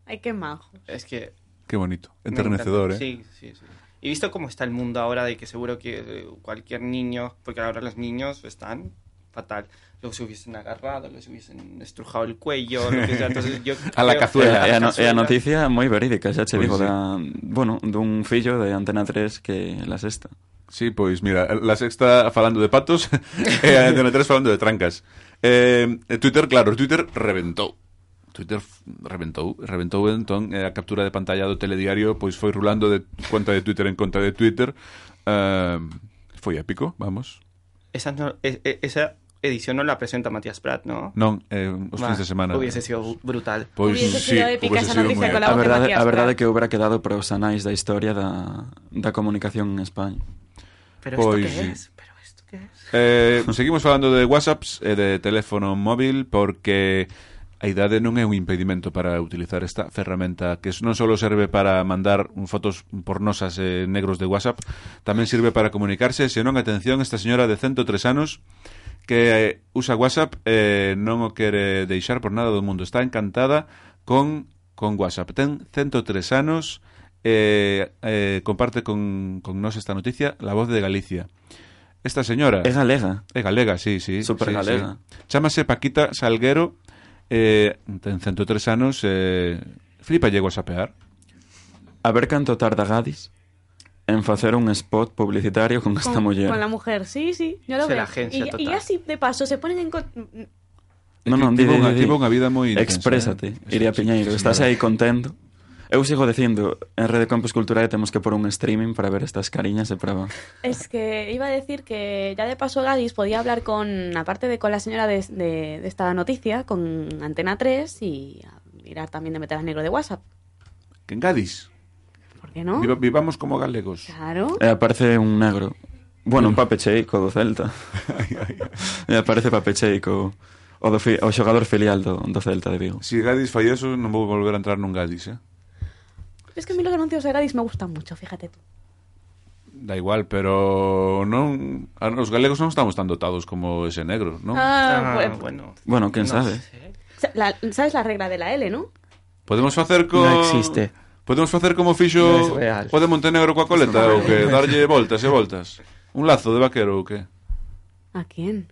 Speaker 9: Ay, qué majo.
Speaker 3: Es que.
Speaker 1: que bonito.
Speaker 3: me
Speaker 1: Enternecedor, eh.
Speaker 3: encanta. Sí, sí, sí. Y visto cómo está el mundo ahora, de que seguro que eh, cualquier niño, porque ahora los niños están fatal, los hubiesen agarrado, los hubiesen estrujado el cuello, lo que sea. Entonces, yo
Speaker 1: A la
Speaker 3: creo-
Speaker 1: cazuela.
Speaker 3: A
Speaker 2: E
Speaker 3: la
Speaker 2: a, no- e a
Speaker 3: cazuela.
Speaker 2: Eh, noticia moi verídica, xa che
Speaker 1: Pois
Speaker 2: digo,
Speaker 1: sí.
Speaker 2: da, bueno, dun fillo de Antena 3 que la sexta.
Speaker 1: Sí, pois mira, la sexta falando de patos e a Antena 3 falando de trancas. Eh, e Twitter, claro, Twitter reventou. Twitter f- reventou, reventou entón eh, a captura de pantalla do telediario pois foi rulando de conta de Twitter en conta de Twitter. Eh, foi épico, vamos.
Speaker 3: Esa, no- e- e- esa edición no la presenta Matías Prat, ¿no?
Speaker 1: Non, eh, os fins de semana.
Speaker 3: Hubiese sido bu- brutal.
Speaker 1: Pois
Speaker 9: Hubiese
Speaker 1: sí,
Speaker 9: sido épica
Speaker 1: hubiese
Speaker 9: esa
Speaker 1: sido
Speaker 9: noticia
Speaker 1: moi
Speaker 9: con la
Speaker 2: A
Speaker 9: voz
Speaker 1: épica.
Speaker 9: de
Speaker 2: verdade,
Speaker 9: Matías
Speaker 2: a verdade
Speaker 9: Prat.
Speaker 2: que hubera quedado para os anais da historia da, da comunicación en España.
Speaker 3: ¿Pero esto qué
Speaker 1: Pois Pues sí.
Speaker 3: es? ¿Pero esto qué es?
Speaker 1: Eh, seguimos falando de WhatsApps e de teléfono móvil porque a idade non é un impedimento para utilizar esta ferramenta que non só serve para mandar un fotos pornosas e negros de WhatsApp, tamén sirve para comunicarse, senón atención esta señora de 103 anos que eh, usa WhatsApp e non o quere deixar por nada do mundo. Está encantada con con WhatsApp. Ten 103 anos e eh, comparte con, con nos esta noticia La Voz de Galicia. Esta señora...
Speaker 2: É galega.
Speaker 1: É galega, sí, sí.
Speaker 2: Supergalega.
Speaker 1: Sí, sí. Chámase Paquita Salguero, eh, ten 103 anos, eh, flipa llego a sapear.
Speaker 2: A ver canto tarda Gadis en facer un spot publicitario con esta
Speaker 9: Con-
Speaker 2: muller.
Speaker 9: Con la mujer, sí, sí. Yo lo
Speaker 3: Se
Speaker 9: veo.
Speaker 3: la agencia
Speaker 9: y, y
Speaker 3: total.
Speaker 9: así, de paso, se ponen en. con-
Speaker 2: No,
Speaker 1: É que
Speaker 2: non, di,
Speaker 1: tivo
Speaker 2: di,
Speaker 1: unha-
Speaker 2: di.
Speaker 1: tivo unha vida moi intensa,
Speaker 2: Exprésate,
Speaker 1: eh.
Speaker 2: Iria
Speaker 1: Sí,
Speaker 2: Piñeiro.
Speaker 1: sí,
Speaker 2: Estás
Speaker 1: señora.
Speaker 2: aí contento? Eu sigo dicindo, en Rede Campus Culturae temos que por un streaming para ver estas cariñas e para...
Speaker 9: Es que iba a decir que ya de paso Gadis podía hablar con, aparte de con la señora de, de- de esta noticia, con Antena 3 y a mirar también de meter al negro de WhatsApp.
Speaker 1: Que en Gadis,
Speaker 9: ¿Por qué no?
Speaker 1: viva- vivamos como galegos.
Speaker 9: Claro.
Speaker 2: E aparece un negro. Bueno, un papecheico do Celta. e aparece papecheico o, do fi, o xogador filial do, do Celta de Vigo.
Speaker 1: Si Gadis fai eso, non vou volver a entrar nun Gadis, eh?
Speaker 9: Es que a mí los anuncios de Gadis me gustan mucho, fíjate tú.
Speaker 1: Da igual, pero non a- os galegos non estamos tan dotados como ese negro, non?
Speaker 9: Ah,
Speaker 3: Ah,
Speaker 9: pues,
Speaker 3: bueno.
Speaker 2: Bueno, quen
Speaker 3: No
Speaker 2: sabe?
Speaker 3: sé.
Speaker 9: sa- la- ¿Sabes la regla de la L, no?
Speaker 1: Podemos facer co
Speaker 3: No existe.
Speaker 1: Podemos facer como fixo
Speaker 3: No es real.
Speaker 1: o de Montenegro coa coleta ou que darlle voltas e voltas. Un lazo de vaquero ou que?
Speaker 9: ¿A quién?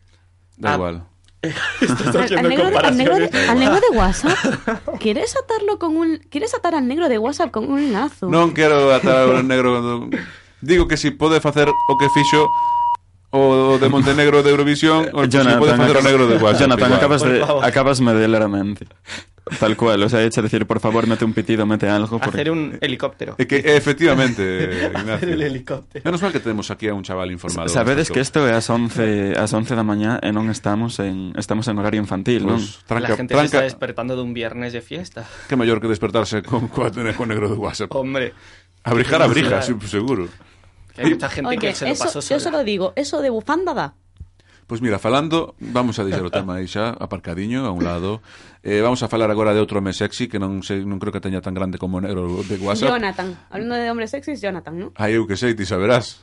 Speaker 1: Da
Speaker 3: Ah,
Speaker 1: igual.
Speaker 3: Estoy
Speaker 9: Al, al
Speaker 3: haciendo
Speaker 9: negro de, al negro de-
Speaker 3: comparaciones.
Speaker 9: al negro de WhatsApp. ¿Quieres atarlo con un quieres atar al negro de WhatsApp con un lazo?
Speaker 1: Non quero atar o negro do... Digo que si pode facer o que fixo o de Montenegro de Eurovisión o si pode facer o
Speaker 2: Eh, acabas-
Speaker 1: negro de WhatsApp.
Speaker 2: Jonathan,
Speaker 1: igual.
Speaker 2: acabas
Speaker 3: Por
Speaker 2: de,
Speaker 3: favor.
Speaker 2: acabasme de leer la mente. Tal cual, o sea, hecho decir, por favor, mete un pitido, mete algo. Porque...
Speaker 3: Hacer un helicóptero.
Speaker 1: É que efectivamente, Ignacio.
Speaker 3: Hacer el helicóptero.
Speaker 1: Menos mal que tenemos aquí a un chaval informado.
Speaker 2: Sabedes que
Speaker 1: Esto,
Speaker 2: isto é as 11, as 11 da mañá e non estamos en estamos en horario infantil, non?
Speaker 1: Pues, tranca,
Speaker 3: la gente se está
Speaker 1: tranca,
Speaker 3: despertando de un viernes de fiesta.
Speaker 1: que mellor que despertarse con cuatro con negro de WhatsApp.
Speaker 3: Hombre,
Speaker 1: Abrijar, abrija,
Speaker 3: Claro.
Speaker 1: sí, seguro.
Speaker 3: que hay mucha gente
Speaker 9: Oye,
Speaker 3: que se lo
Speaker 9: eso-
Speaker 3: pasó
Speaker 9: yo se
Speaker 3: sola.
Speaker 9: lo digo, eso de bufanda da.
Speaker 1: Pois mira, falando, vamos a deixar o tema aí xa aparcadiño a un lado. Eh, vamos a falar agora de outro home sexy que non sei, non creo que teña tan grande como o negro de WhatsApp.
Speaker 9: Jonathan. Hablando de hombres sexys, Jonathan, ¿no?
Speaker 1: Aí eu que sei, ti saberás.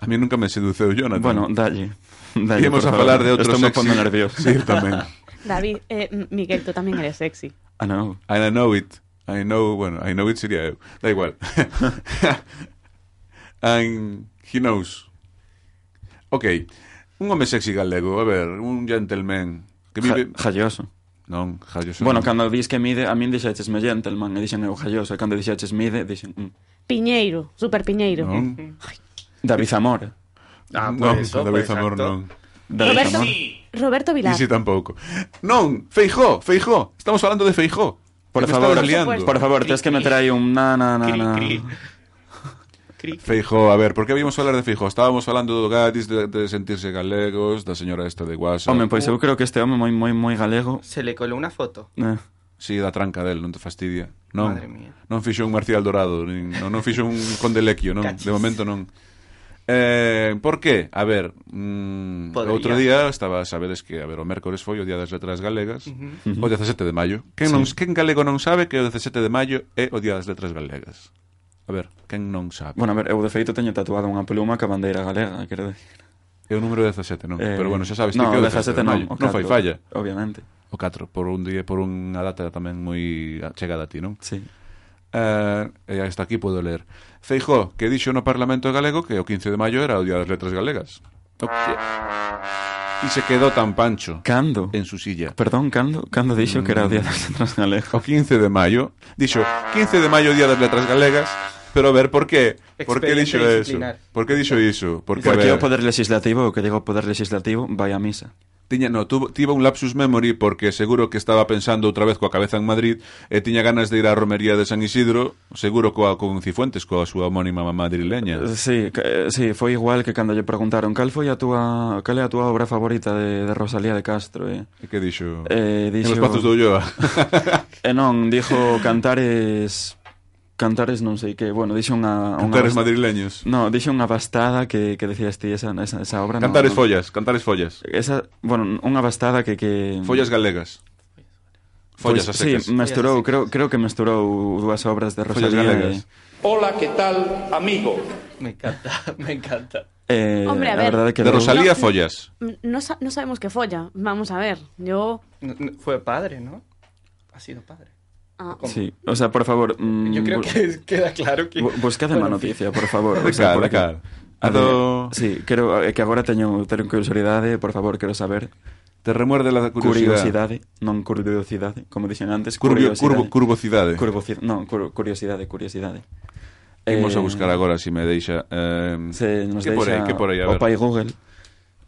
Speaker 1: A mí nunca me seduceu Jonathan.
Speaker 2: Bueno, dalle. dalle
Speaker 1: Íamos
Speaker 2: por
Speaker 1: a
Speaker 2: favor.
Speaker 1: falar de outro
Speaker 2: Esto me
Speaker 1: sexy.
Speaker 2: pongo nervioso.
Speaker 1: Sí, tamén.
Speaker 9: David, eh, M- Miguel, tú también eres sexy.
Speaker 2: Ah, no.
Speaker 1: And I know it. I know, bueno, I know it sería eu. Da igual. And he knows. Ok. Un home sexy galego, a ver, un gentleman que
Speaker 2: Ja,
Speaker 1: vive...
Speaker 2: jalloso.
Speaker 1: Non, jallo son-
Speaker 2: Bueno, cando dis que mide, a min dixeches me gentleman e dixen eu jalloso. E cando dixeches mide, dixen... Mm.
Speaker 9: Piñeiro, super Piñeiro.
Speaker 1: Non,
Speaker 2: David Zamora.
Speaker 3: Ah, por
Speaker 1: non,
Speaker 3: eso, pues,
Speaker 1: David Zamor
Speaker 3: exacto.
Speaker 1: non.
Speaker 2: David
Speaker 9: Roberto-
Speaker 2: Zamora.
Speaker 9: Roberto Vilar.
Speaker 1: Isi tampouco. Non, Feijó, Feijó. Estamos falando de Feijó.
Speaker 2: Por
Speaker 1: Que me
Speaker 2: favor,
Speaker 1: estabas liando.
Speaker 2: por favor, tens que meter aí un na na na
Speaker 5: Cri,
Speaker 2: na.
Speaker 5: cri. Cri.
Speaker 1: Feijó, a ver, por que víamos falar de Feijó? Estábamos falando do Gadis, de, de sentirse galegos, da señora esta de Guasa.
Speaker 2: Home, pois eu creo que este home moi moi moi galego.
Speaker 3: Se le coló una foto.
Speaker 2: Eh.
Speaker 1: Sí, da tranca del, non te fastidia. Non,
Speaker 3: Madre mía.
Speaker 1: non fixo un Marcial Dorado, nin, non, non fixo un Conde Lequio, non,
Speaker 3: Cachis.
Speaker 1: de momento non. Eh, por que? A ver, mm,
Speaker 3: Podría.
Speaker 1: outro día estaba, sabedes que, a ver, o mércores foi o Día das Letras Galegas, uh -huh. o 17 de maio. Quen, non, quen galego non sabe que o 17 de maio é o Día das Letras Galegas? A ver, quen non sabe?
Speaker 2: Bueno, a ver, eu de feito teño tatuada unha pluma ca bandeira galega, quero decir.
Speaker 1: É o número 17, non?
Speaker 2: Eh,
Speaker 1: Pero bueno, xa sabes, ti
Speaker 2: no,
Speaker 1: que é o
Speaker 2: 17
Speaker 1: de
Speaker 2: non,
Speaker 1: maio.
Speaker 2: o
Speaker 1: Non fai
Speaker 2: catro,
Speaker 1: falla.
Speaker 2: Obviamente,
Speaker 1: O 4, por un día, por unha data tamén moi chegada a ti, non?
Speaker 2: sí.
Speaker 1: Eh, e hasta aquí podo ler. Feijó, que dixo no Parlamento galego que o 15 de maio era o Día das Letras Galegas. O que- E se quedou tan pancho
Speaker 2: Cando?
Speaker 1: en su silla.
Speaker 2: Perdón, cando? Cando dixo que era o
Speaker 1: Mm.
Speaker 2: día das letras galegas?
Speaker 1: O 15 de maio, dixo 15 de maio Día das Letras Galegas, pero a ver, por que? Por que
Speaker 3: Expediente
Speaker 1: dixo eso?
Speaker 3: disciplinar.
Speaker 1: Por que dixo iso? Porque, a
Speaker 2: Porque
Speaker 1: ver,
Speaker 2: o poder legislativo, o que digo poder legislativo, vai a misa.
Speaker 1: Tiña, no, tuvo, tivo un lapsus memory porque seguro que estaba pensando outra vez coa cabeza en Madrid e tiña ganas de ir á romería de San Isidro, seguro coa, con Cifuentes, coa súa homónima madrileña.
Speaker 2: Eh, Sí, que, eh, sí, foi igual que cando lle preguntaron cal foi a túa, cal é a túa obra favorita de, de Rosalía de Castro, eh?
Speaker 1: E que dixo?
Speaker 2: Eh,
Speaker 1: En
Speaker 2: dixo...
Speaker 1: os pazos do Ulloa.
Speaker 2: E non, dixo cantares... Cantares non sei que, bueno, dixo unha... unha
Speaker 1: Cantares
Speaker 2: bas-
Speaker 1: madrileños.
Speaker 2: No, dixo unha bastada que, que decías ti, esa, esa, esa obra... no,
Speaker 1: Cantares
Speaker 2: no,
Speaker 1: follas, cantares follas.
Speaker 2: Esa, bueno, unha bastada que... que...
Speaker 1: Follas galegas. Follas a
Speaker 2: pois,
Speaker 1: secas.
Speaker 2: Sí, mesturou, creo, creo que mesturou dúas obras de
Speaker 1: Follas
Speaker 2: Rosalía
Speaker 1: galegas.
Speaker 5: Hola, ¿qué tal, amigo?
Speaker 3: Me encanta, me encanta.
Speaker 2: e, eh,
Speaker 9: Hombre, a ver.
Speaker 2: verdade que
Speaker 1: De
Speaker 2: deu-
Speaker 9: No.
Speaker 1: Rosalía, follas.
Speaker 9: Mm, No, sa- no sabemos qué folla. Vamos a ver. Yo.
Speaker 3: No, no, Fue padre, ¿no? Ha sido padre.
Speaker 9: ah,
Speaker 2: Sí, o sea, por favor... mm,
Speaker 3: Yo creo
Speaker 2: bu-
Speaker 3: que queda claro que...
Speaker 2: bu- Buscade má
Speaker 3: Bueno, en fin.
Speaker 2: noticia, por favor.
Speaker 1: De
Speaker 2: o sea,
Speaker 1: cal, de
Speaker 2: porque-
Speaker 1: cal. A
Speaker 2: A ver,
Speaker 1: do...
Speaker 2: Sí, quero, é que agora teño, teño curiosidade, por favor, quero saber.
Speaker 1: Te remuerde la curiosidade.
Speaker 2: Curiosidade, non curiosidade, como dixen antes,
Speaker 1: Curbio, curvo,
Speaker 2: curiosidade.
Speaker 1: curvocidade.
Speaker 2: Curvocidade, non, cur- curiosidade, curiosidade.
Speaker 1: Imos a
Speaker 2: Eh,
Speaker 1: buscar agora, se me deixa. Eh,
Speaker 2: Se nos deixa
Speaker 1: que por aí, que por aí, a
Speaker 2: o
Speaker 1: ver.
Speaker 2: pai Google.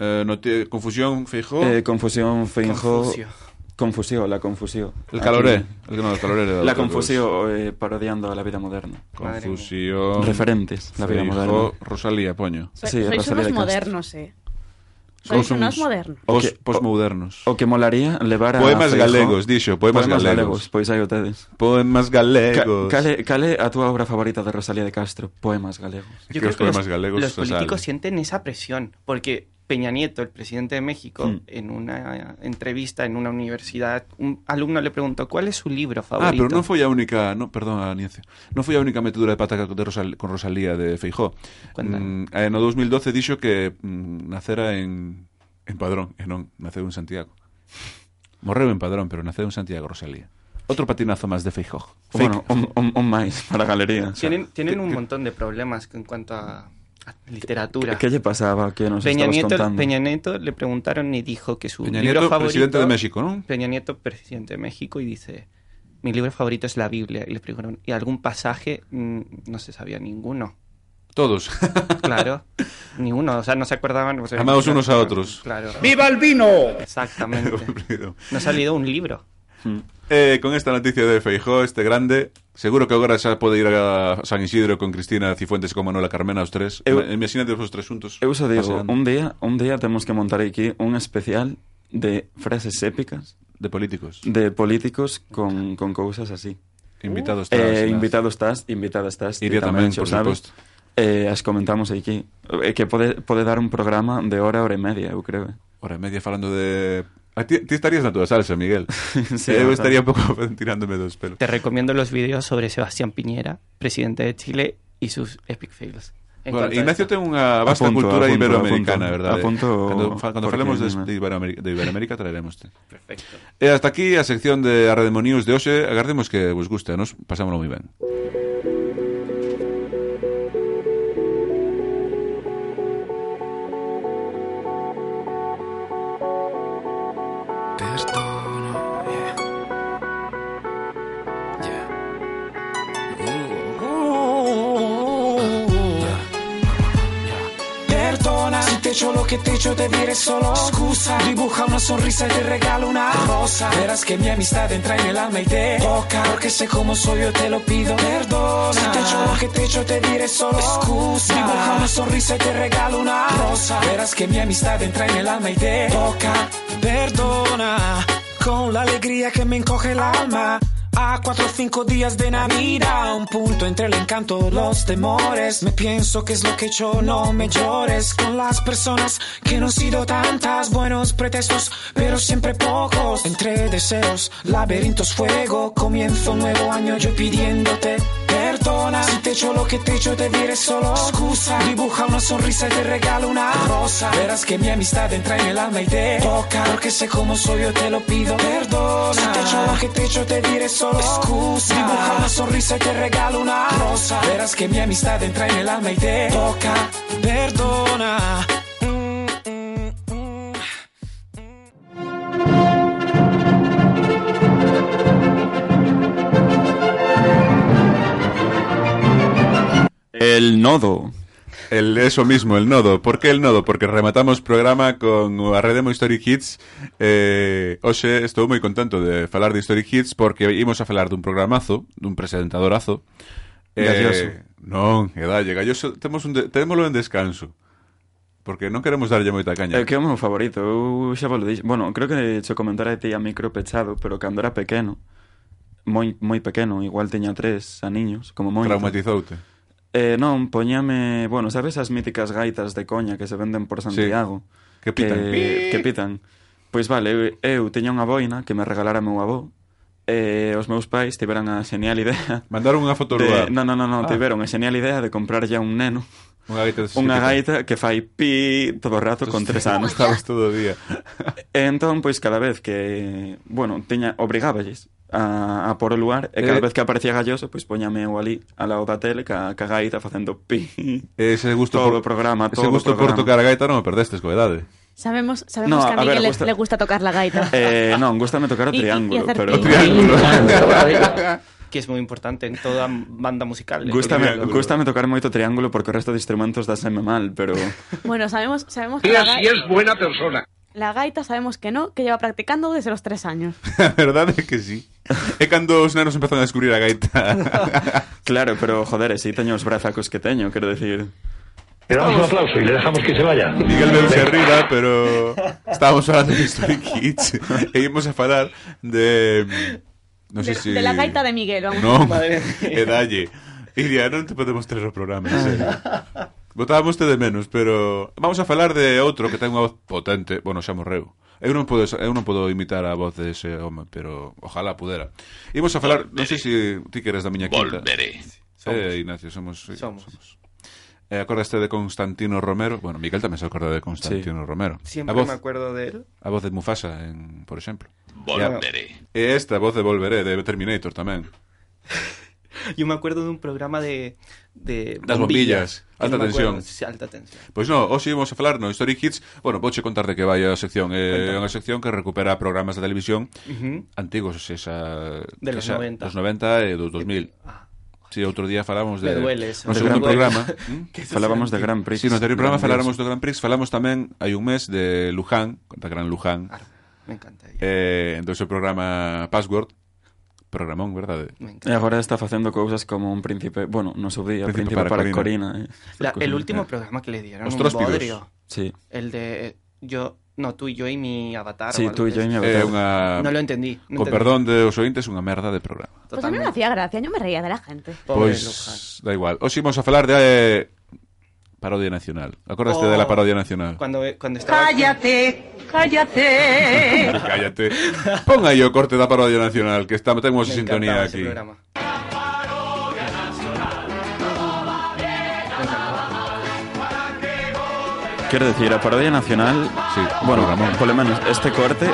Speaker 1: Eh, no te, confusión, fijo.
Speaker 2: Eh, confusión, feinjo...
Speaker 3: Confucio.
Speaker 2: Confusió, la confusió.
Speaker 1: el
Speaker 2: Aquí-
Speaker 1: caloré. El, no, el caloré era
Speaker 2: La
Speaker 1: outro dos.
Speaker 2: confusió eh, parodiando a la vida moderna.
Speaker 1: Confusión.
Speaker 2: Referentes, la vida
Speaker 1: Feijóo,
Speaker 2: moderna.
Speaker 1: Rosalía, poño.
Speaker 9: so-
Speaker 2: Sí,
Speaker 9: sois
Speaker 2: Rosalía
Speaker 9: unos
Speaker 2: de Castro.
Speaker 9: modernos, eh. Sois
Speaker 1: Somos
Speaker 9: unos modernos.
Speaker 1: Os,
Speaker 2: O que-
Speaker 1: posmodernos.
Speaker 2: O que molaría levar a
Speaker 1: Poemas
Speaker 2: Feijóo-
Speaker 1: galegos, dixo, poemas galegos.
Speaker 2: Pois aí o tedes.
Speaker 1: Poemas
Speaker 2: Ca-
Speaker 1: galegos.
Speaker 2: Cale, cale a túa obra favorita de Rosalía de Castro, Poemas galegos.
Speaker 1: que os poemas galegos
Speaker 3: los
Speaker 1: se salen.
Speaker 3: políticos sienten esa presión, porque Peña Nieto, el presidente de México,
Speaker 2: Mm.
Speaker 3: en una entrevista en una universidad, un alumno le preguntó, ¿cuál es su libro
Speaker 1: Ah,
Speaker 3: favorito?
Speaker 1: pero non foi a única, no, perdón, Aniencio. Non foi a única metedura de pata ca- de Rosal, con Rosalía de Feijó.
Speaker 3: Cuéntame.
Speaker 1: Mm, eh, no 2012 dixo que mm, nacera en en Padrón, e non, naceu en Santiago. Morreu en Padrón, pero naceu en Santiago Rosalía. Outro patinazo máis de Feijó.
Speaker 2: Bueno, un, un, un máis para a galería.
Speaker 3: Tienen, tienen un montón de problemas en cuanto a, a literatura.
Speaker 2: Que lle pasaba que nos
Speaker 3: Peña
Speaker 2: estabas
Speaker 3: Nieto,
Speaker 2: contando?
Speaker 3: Peña Nieto le preguntaron y dijo que su
Speaker 1: Peña
Speaker 3: libro
Speaker 1: Nieto,
Speaker 3: favorito...
Speaker 1: presidente de México, non?
Speaker 3: Peña Nieto, presidente de México, y dice, mi libro favorito es la Biblia. Y le preguntaron, ¿y algún pasaje? Mm, No se sabía ninguno.
Speaker 1: Todos.
Speaker 3: Claro, ninguno, o sea, no se acordaban. o sea,
Speaker 1: Amados
Speaker 3: no-
Speaker 1: unos a otros.
Speaker 3: Claro,
Speaker 5: ¡Viva el vino!
Speaker 3: exactamente. No ha salido un libro.
Speaker 1: Eh, con esta noticia de Feijó, este grande, seguro que agora xa pode ir a San Isidro con Cristina Cifuentes con Manuela Carmena os tres.
Speaker 2: Eu-
Speaker 1: Ma- Imagínate os tres xuntos.
Speaker 2: Eu só digo,
Speaker 1: paseando.
Speaker 2: un día, un día temos que montar aquí un especial de frases épicas
Speaker 1: de políticos.
Speaker 2: de políticos con, con cousas así.
Speaker 1: Invitados tras,
Speaker 2: Eh,
Speaker 1: nas-
Speaker 2: invitado estás, invitada estás. ti
Speaker 1: Iría tamén,
Speaker 2: xa
Speaker 1: por
Speaker 2: o sabes.
Speaker 1: suposto.
Speaker 2: Eh, as comentamos aquí. É que pode, pode dar un programa de hora, hora e media, eu creo. eh.
Speaker 1: hora y media falando de... A ti, ti estarías na túa salsa, Miguel.
Speaker 2: Sí,
Speaker 1: Eu
Speaker 2: bastante.
Speaker 1: estaría un pouco tirándome dos pelos.
Speaker 3: Te recomiendo los vídeos sobre Sebastián Piñera, presidente de Chile, y sus epic fails. En
Speaker 1: Bueno,
Speaker 3: cuanto a
Speaker 1: Ignacio
Speaker 3: esto.
Speaker 1: ten unha vasta
Speaker 2: Apunto,
Speaker 1: cultura
Speaker 2: apunto,
Speaker 1: iberoamericana,
Speaker 2: apunto.
Speaker 1: verdade?
Speaker 2: Apunto
Speaker 1: cando, fa- cando
Speaker 2: porque
Speaker 1: falemos de,
Speaker 2: dime.
Speaker 1: de, Iberoamérica, de Iberoamérica traeremos.
Speaker 3: Perfecto.
Speaker 1: E hasta aquí a sección de Arredemo News de hoxe. Agardemos que vos guste, nos pasámoslo moi ben.
Speaker 10: Perdona, yeah. Yeah.
Speaker 7: Perdona si te echo lo que te echo, te diré solo excusa. Dibuja una sonrisa y te regalo una rosa. Verás que mi amistad entra en el alma y te toca. Porque sé cómo soy, yo te lo pido. Perdona si te echo lo que te echo, te diré solo excusa. Dibuja una sonrisa y te regalo una rosa. Verás que mi amistad entra en el alma y te toca. Perdona con la alegría que me encoge el alma. A cuatro o cinco días de Navidad, un punto entre el encanto, los temores. Me pienso que es lo que yo no me llores con las personas que no han sido tantas. Buenos pretextos, pero siempre pocos. Entre deseos, laberintos, fuego. Comienzo un nuevo año yo pidiéndote perdona. Si te echo lo que te echo, te diré solo excusa. Dibuja una sonrisa y te regalo una rosa. Verás que mi amistad entra en el alma y te toca. Porque sé cómo soy, yo te lo pido. Perdona. Si te echo lo que te echo, te diré solo excusa. Dibuja una sonrisa y te regalo una rosa. Verás que mi amistad entra en el alma y te toca. Perdona. Mm, mm, mm.
Speaker 2: El nodo.
Speaker 1: El, eso mismo, el nodo. Por que el nodo? Porque rematamos programa con a Rede Mo History Kids. Eh, hoxe estou moi contento de falar de History Kids porque imos a falar dun programazo, dun presentadorazo. Eh,
Speaker 2: Galloso.
Speaker 1: Non, e dalle, galloso, temos un de, témolo en descanso. Porque non queremos darlle moita caña.
Speaker 2: É Eh, que é o meu favorito, eu xa vos lo dixo. Bueno, creo que xo comentara ti a micro pechado, pero cando era pequeno, moi moi pequeno, igual teña tres aniños, como moito.
Speaker 1: Traumatizoute.
Speaker 2: Eh, non, poñame, bueno, sabes as míticas gaitas de coña que se venden por Santiago?
Speaker 1: Que pitan.
Speaker 2: Eh, Que, que pitan. Pois vale, eu, eu teña unha boina que me regalara meu avó, e os meus pais tiveran a genial idea
Speaker 1: Mandaron unha foto
Speaker 2: de...
Speaker 1: de,
Speaker 2: Non, non, non, no,
Speaker 1: Ah.
Speaker 2: tiveron a genial idea de comprar ya un neno
Speaker 1: unha gaita. de
Speaker 2: Unha
Speaker 1: chiquita.
Speaker 2: gaita que fai pi todo o rato con tres anos.
Speaker 1: Estabas todo o día.
Speaker 2: E entón, pois, cada vez que... Bueno, teña... Obrigáballes a, a por o lugar e cada
Speaker 1: Eh.
Speaker 2: vez que aparecía galloso, pois, poñame eu ali ao lado da tele ca, ca gaita facendo pi.
Speaker 1: Ese gusto
Speaker 2: Todo o
Speaker 1: por,
Speaker 2: programa,
Speaker 1: ese
Speaker 2: todo o
Speaker 1: gusto por
Speaker 2: programa.
Speaker 1: tocar a gaita non me perdestes, coedade.
Speaker 9: Sabemos, sabemos
Speaker 2: No,
Speaker 9: que a
Speaker 2: a ver,
Speaker 9: Miguel le-
Speaker 2: gusta-
Speaker 9: le gusta tocar la gaita.
Speaker 2: Eh, non, gustame tocar o
Speaker 9: Y- y- y
Speaker 2: triángulo,
Speaker 9: hacer
Speaker 2: pero...
Speaker 9: pi. O triángulo.
Speaker 3: que es muy importante en toda banda musical. el
Speaker 2: Gústame,
Speaker 3: triángulo.
Speaker 2: gústame tocar moito triángulo porque o resto de instrumentos daseme mal, pero...
Speaker 9: Bueno, sabemos, sabemos que la, ga-
Speaker 5: es buena persona.
Speaker 9: la gaita sabemos que no, que lleva practicando desde los tres años.
Speaker 1: A verdade é que sí. É cando os nenos empezan a descubrir a gaita.
Speaker 2: Claro, pero, joder, e si teño os brazacos que teño, quero decir...
Speaker 5: Le damos un aplauso y le dejamos que se vaya.
Speaker 1: Miguel veuse arriba, pero estábamos falando de History Kids e íbamos a falar de... Non sei
Speaker 9: de,
Speaker 1: se...
Speaker 9: de la gaita de Miguel, vamos.
Speaker 1: Non,
Speaker 3: Madre
Speaker 1: e dalle. Iria, non te podemos traer o programa, en serio. Botábamos te de menos, pero vamos a falar de outro que ten unha voz potente. Bueno, xa morreu. Eu non podo, eu non podo imitar a voz de ese home, pero ojalá pudera. Imos a falar, non sei se ti queres da miña quinta. Volveré. Eh, Ignacio, somos... sí,
Speaker 3: Somos.
Speaker 1: Eh, acordaste de Constantino Romero? Bueno, Miguel tamén se acorda de Constantino Romero.
Speaker 3: Siempre
Speaker 1: a voz,
Speaker 3: me acuerdo de él.
Speaker 1: a voz de Mufasa, en, por exemplo. Volveré. E esta voz de Volveré, de Terminator tamén.
Speaker 3: Yo me acuerdo de un programa de. de
Speaker 1: Das bombillas,
Speaker 3: que
Speaker 1: alta
Speaker 3: no me acuerdo.
Speaker 1: tensión.
Speaker 3: Sí, alta tensión.
Speaker 1: Pois non, hoxe íbamos a falar no History Kids Bueno, vouche contar de que vai a sección É eh, unha sección que recupera programas de televisión
Speaker 3: Ujú.
Speaker 1: Antigos, esa,
Speaker 3: De los
Speaker 1: esa,
Speaker 3: 90.
Speaker 1: Dos 90 e dos 2000
Speaker 3: Ah,
Speaker 1: Si, sí, outro día falamos de
Speaker 3: Me duele eso.
Speaker 1: No
Speaker 2: Me
Speaker 1: Pues segundo
Speaker 2: duele.
Speaker 1: programa
Speaker 3: que eso
Speaker 2: Falábamos
Speaker 3: sea-
Speaker 2: de Grand Prix.
Speaker 1: Si, sí, no anterior programa
Speaker 2: Grand Prix.
Speaker 1: faláramos do Grand Prix Falamos tamén, hai un mes, de Luján Da Gran Luján
Speaker 3: Ah, Me encanta. ella,
Speaker 1: eh, Do seu programa Password Programón, verdade?
Speaker 3: me
Speaker 2: E
Speaker 3: encanta.
Speaker 2: agora está facendo cousas como un príncipe... Bueno, no seu día,
Speaker 1: Príncipe
Speaker 2: príncipe,
Speaker 1: para
Speaker 2: para,
Speaker 1: Corina.
Speaker 2: Corina. eh.
Speaker 3: La- el último
Speaker 1: eh.
Speaker 3: programa que le dieron.
Speaker 1: Los
Speaker 3: un
Speaker 1: tróspidos.
Speaker 3: bodrio.
Speaker 2: Sí,
Speaker 3: El de. Yo. No, tú y yo y mi avatar. o
Speaker 2: sí,
Speaker 3: algo
Speaker 2: tú e
Speaker 3: de
Speaker 2: yo e
Speaker 3: eso.
Speaker 2: mi
Speaker 1: É
Speaker 2: avatar.
Speaker 1: unha...
Speaker 3: No lo entendí. no entendí.
Speaker 1: Con Pues perdón de os ointes, unha merda de programa
Speaker 9: Pues a mí me
Speaker 3: Totalmente.
Speaker 1: Pues,
Speaker 9: hacía gracia, yo me reía de la gente.
Speaker 3: Pobre Luján.
Speaker 1: Pois, da igual. Hoxe imos a falar de eh, Parodia Nacional. Acuérdate de la Parodia
Speaker 3: Oh.
Speaker 1: Nacional.
Speaker 3: Cuando, cuando
Speaker 9: Ah,
Speaker 3: estaba...
Speaker 11: Cállate, cállate.
Speaker 1: Cállate. Ponga yo corte de la Parodia Nacional, que estamos tenemos
Speaker 3: Me
Speaker 1: sintonía
Speaker 3: encantaba ese
Speaker 1: aquí.
Speaker 3: programa.
Speaker 2: Quero decir, a Parodia Nacional
Speaker 1: Sí,
Speaker 2: Bueno,
Speaker 1: programa.
Speaker 2: polo menos este corte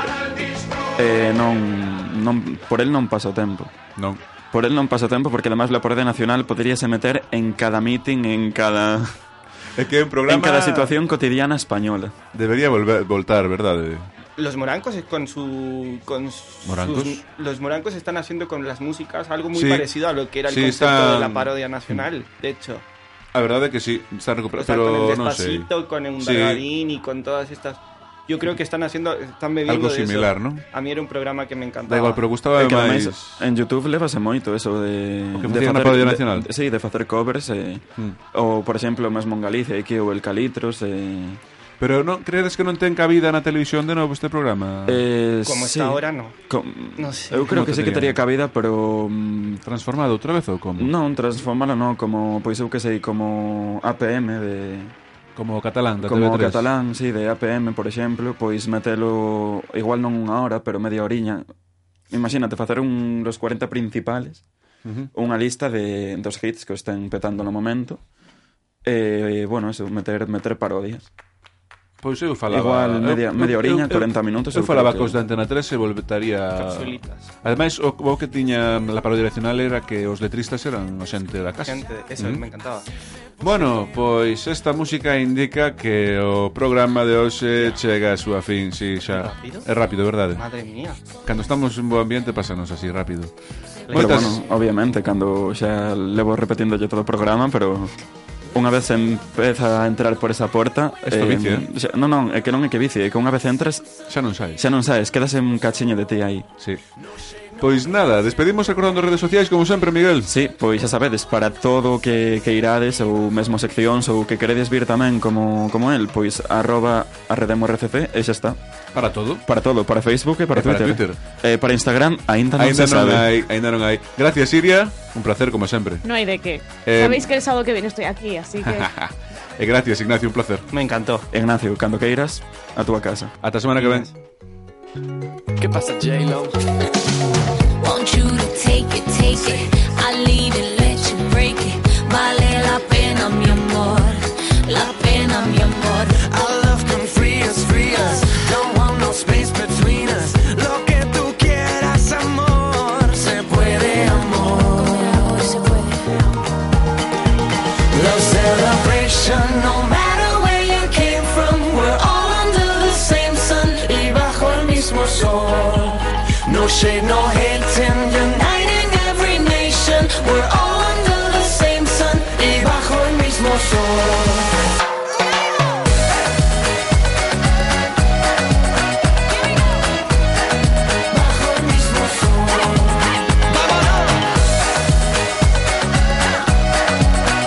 Speaker 2: eh, non, non, por el non pasa o tempo
Speaker 1: No.
Speaker 2: Por el non pasa o tempo porque además la Parodia Nacional poderíase meter en cada meeting, en cada,
Speaker 1: Es que un programa
Speaker 2: en cada situación cotidiana española
Speaker 1: debería volver voltar, ¿verdad?
Speaker 3: Los morancos es con su... Con sus-
Speaker 1: ¿Morancos?
Speaker 3: los morancos están haciendo con las músicas algo muy
Speaker 1: Sí.
Speaker 3: parecido a lo que era el
Speaker 1: Sí,
Speaker 3: concepto de la
Speaker 1: están-
Speaker 3: parodia nacional, de hecho.
Speaker 1: La verdad es que sí, está
Speaker 3: O
Speaker 1: recuperado,
Speaker 3: sea, con
Speaker 1: pero
Speaker 3: el
Speaker 1: no sé.
Speaker 3: despacito, con un
Speaker 1: Sí.
Speaker 3: Bergadín y con todas estas... Yo creo que están haciendo... Están bebiendo
Speaker 1: Algo
Speaker 3: de eso.
Speaker 1: similar, ¿no?
Speaker 3: A mí era un programa que me encantaba.
Speaker 1: Da igual, pero gustaba
Speaker 2: E Eh, que ademais
Speaker 1: máis.
Speaker 2: en Youtube levase moito eso de...
Speaker 1: O que
Speaker 2: de
Speaker 1: facían na Parodia Nacional.
Speaker 2: De, sí, de facer covers eh,
Speaker 1: Mm.
Speaker 2: ou, por exemplo, mesmo en Galicia aquí ou el Calitros eh,
Speaker 1: Pero no crees que non ten cabida na televisión de novo este programa?
Speaker 2: eh,
Speaker 3: Como
Speaker 2: sí.
Speaker 3: está ahora, no.
Speaker 2: Com...
Speaker 3: No sé.
Speaker 2: Eu creo
Speaker 1: Ah. Como
Speaker 2: que sí que
Speaker 1: tendría.
Speaker 2: tería cabida, pero mm,
Speaker 1: Transformado outra vez ou como?
Speaker 2: Non, transformala non, como, pois eu que sei, como APM de...
Speaker 1: Como o catalán da
Speaker 2: Como o
Speaker 1: TV3.
Speaker 2: catalán, sí, de APM, por exemplo, pois metelo, igual non unha hora, pero media horiña. Imagínate, facer un los 40 principales,
Speaker 1: Ujú.
Speaker 2: unha lista de dos hits que os estén petando no momento, e, bueno, eso, meter, meter parodias.
Speaker 1: Pois eu falaba...
Speaker 2: Igual
Speaker 1: eu-
Speaker 2: media-
Speaker 1: eu-
Speaker 2: media horiña,
Speaker 1: eu- eu-
Speaker 2: 40 minutos,
Speaker 1: Eu
Speaker 2: eu
Speaker 1: falaba
Speaker 2: creo que-
Speaker 1: cos da Antena 3 e volvetaría...
Speaker 3: Capsulitas.
Speaker 1: Ademais, o, o que tiña a parodia nacional era que os letristas eran o xente da casa.
Speaker 3: Gente, eso me encantaba.
Speaker 1: Bueno, pois esta música indica que o programa de hoxe chega a súa fin, si xa.
Speaker 3: Rápido?
Speaker 1: É rápido, verdade?
Speaker 3: Madre mía.
Speaker 1: Cando estamos en bo ambiente pásanos así rápido.
Speaker 2: Pero
Speaker 1: Moitas-
Speaker 2: bueno, obviamente, cando xa levo repetindo yo todo o programa, pero unha vez empeza a entrar por esa porta...
Speaker 1: Esto vicio, eh?
Speaker 2: xa- non, non, é que non é que bici, é que unha vez entras
Speaker 1: Xa non sai.
Speaker 2: xa non sabes, quedas un cachiño de ti aí.
Speaker 1: Sí. Pois nada, despedimos recordando redes sociais como sempre, Miguel.
Speaker 2: Sí, pois xa sabedes, para todo o que, que irades ou mesmo seccións ou que queredes vir tamén como, como el, pois arroba arredemorcc e xa está.
Speaker 1: Para todo.
Speaker 2: Para todo, para Facebook e para,
Speaker 1: E para Twitter.
Speaker 2: Twitter. Eh, para Instagram aínda non
Speaker 1: Ainda
Speaker 2: se
Speaker 1: non
Speaker 2: sabe.
Speaker 1: hai, ainda non hai. Gracias, Iria. Un placer como sempre.
Speaker 9: No hay de qué.
Speaker 1: Eh,
Speaker 9: Sabéis que el sábado que viene estoy aquí, así que.
Speaker 1: E gracias, Ignacio, un placer.
Speaker 3: Me encantó.
Speaker 2: Ignacio, cando queiras, a túa casa.
Speaker 1: Ata a semana que ven.
Speaker 8: ¿Qué pasa, J-Lo?
Speaker 12: Want you to take it, take it. I leave it, let you break it. Vale la pena, mi amor. La pena, mi amor.
Speaker 8: Our love come free us, free us. Don't want no space between us. Lo que tú quieras, amor, se puede, amor. Love celebration, no matter where you came from, we're all under the same sun y bajo el mismo sol. No shade, no hating, uniting every nation. We're all under the same sun y bajo el mismo sol. Bajo el mismo sol.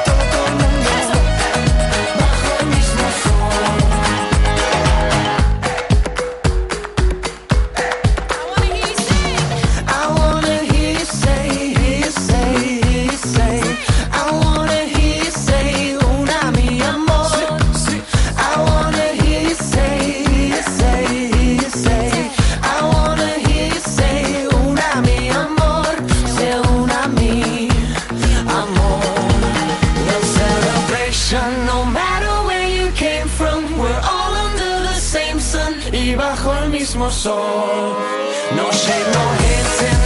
Speaker 8: Todo el mundo bajo el mismo sol. I wanna hear you say, hear you say, hear you say. I wanna hear you say, "Oh, una mi amor. I wanna hear you say, hear you say, hear you say. I wanna hear you say, "Oh, una mi amor, se una mi amor. Love celebration, no matter where you came from, we're all under the same sun y bajo el mismo sol. No shade, no hating,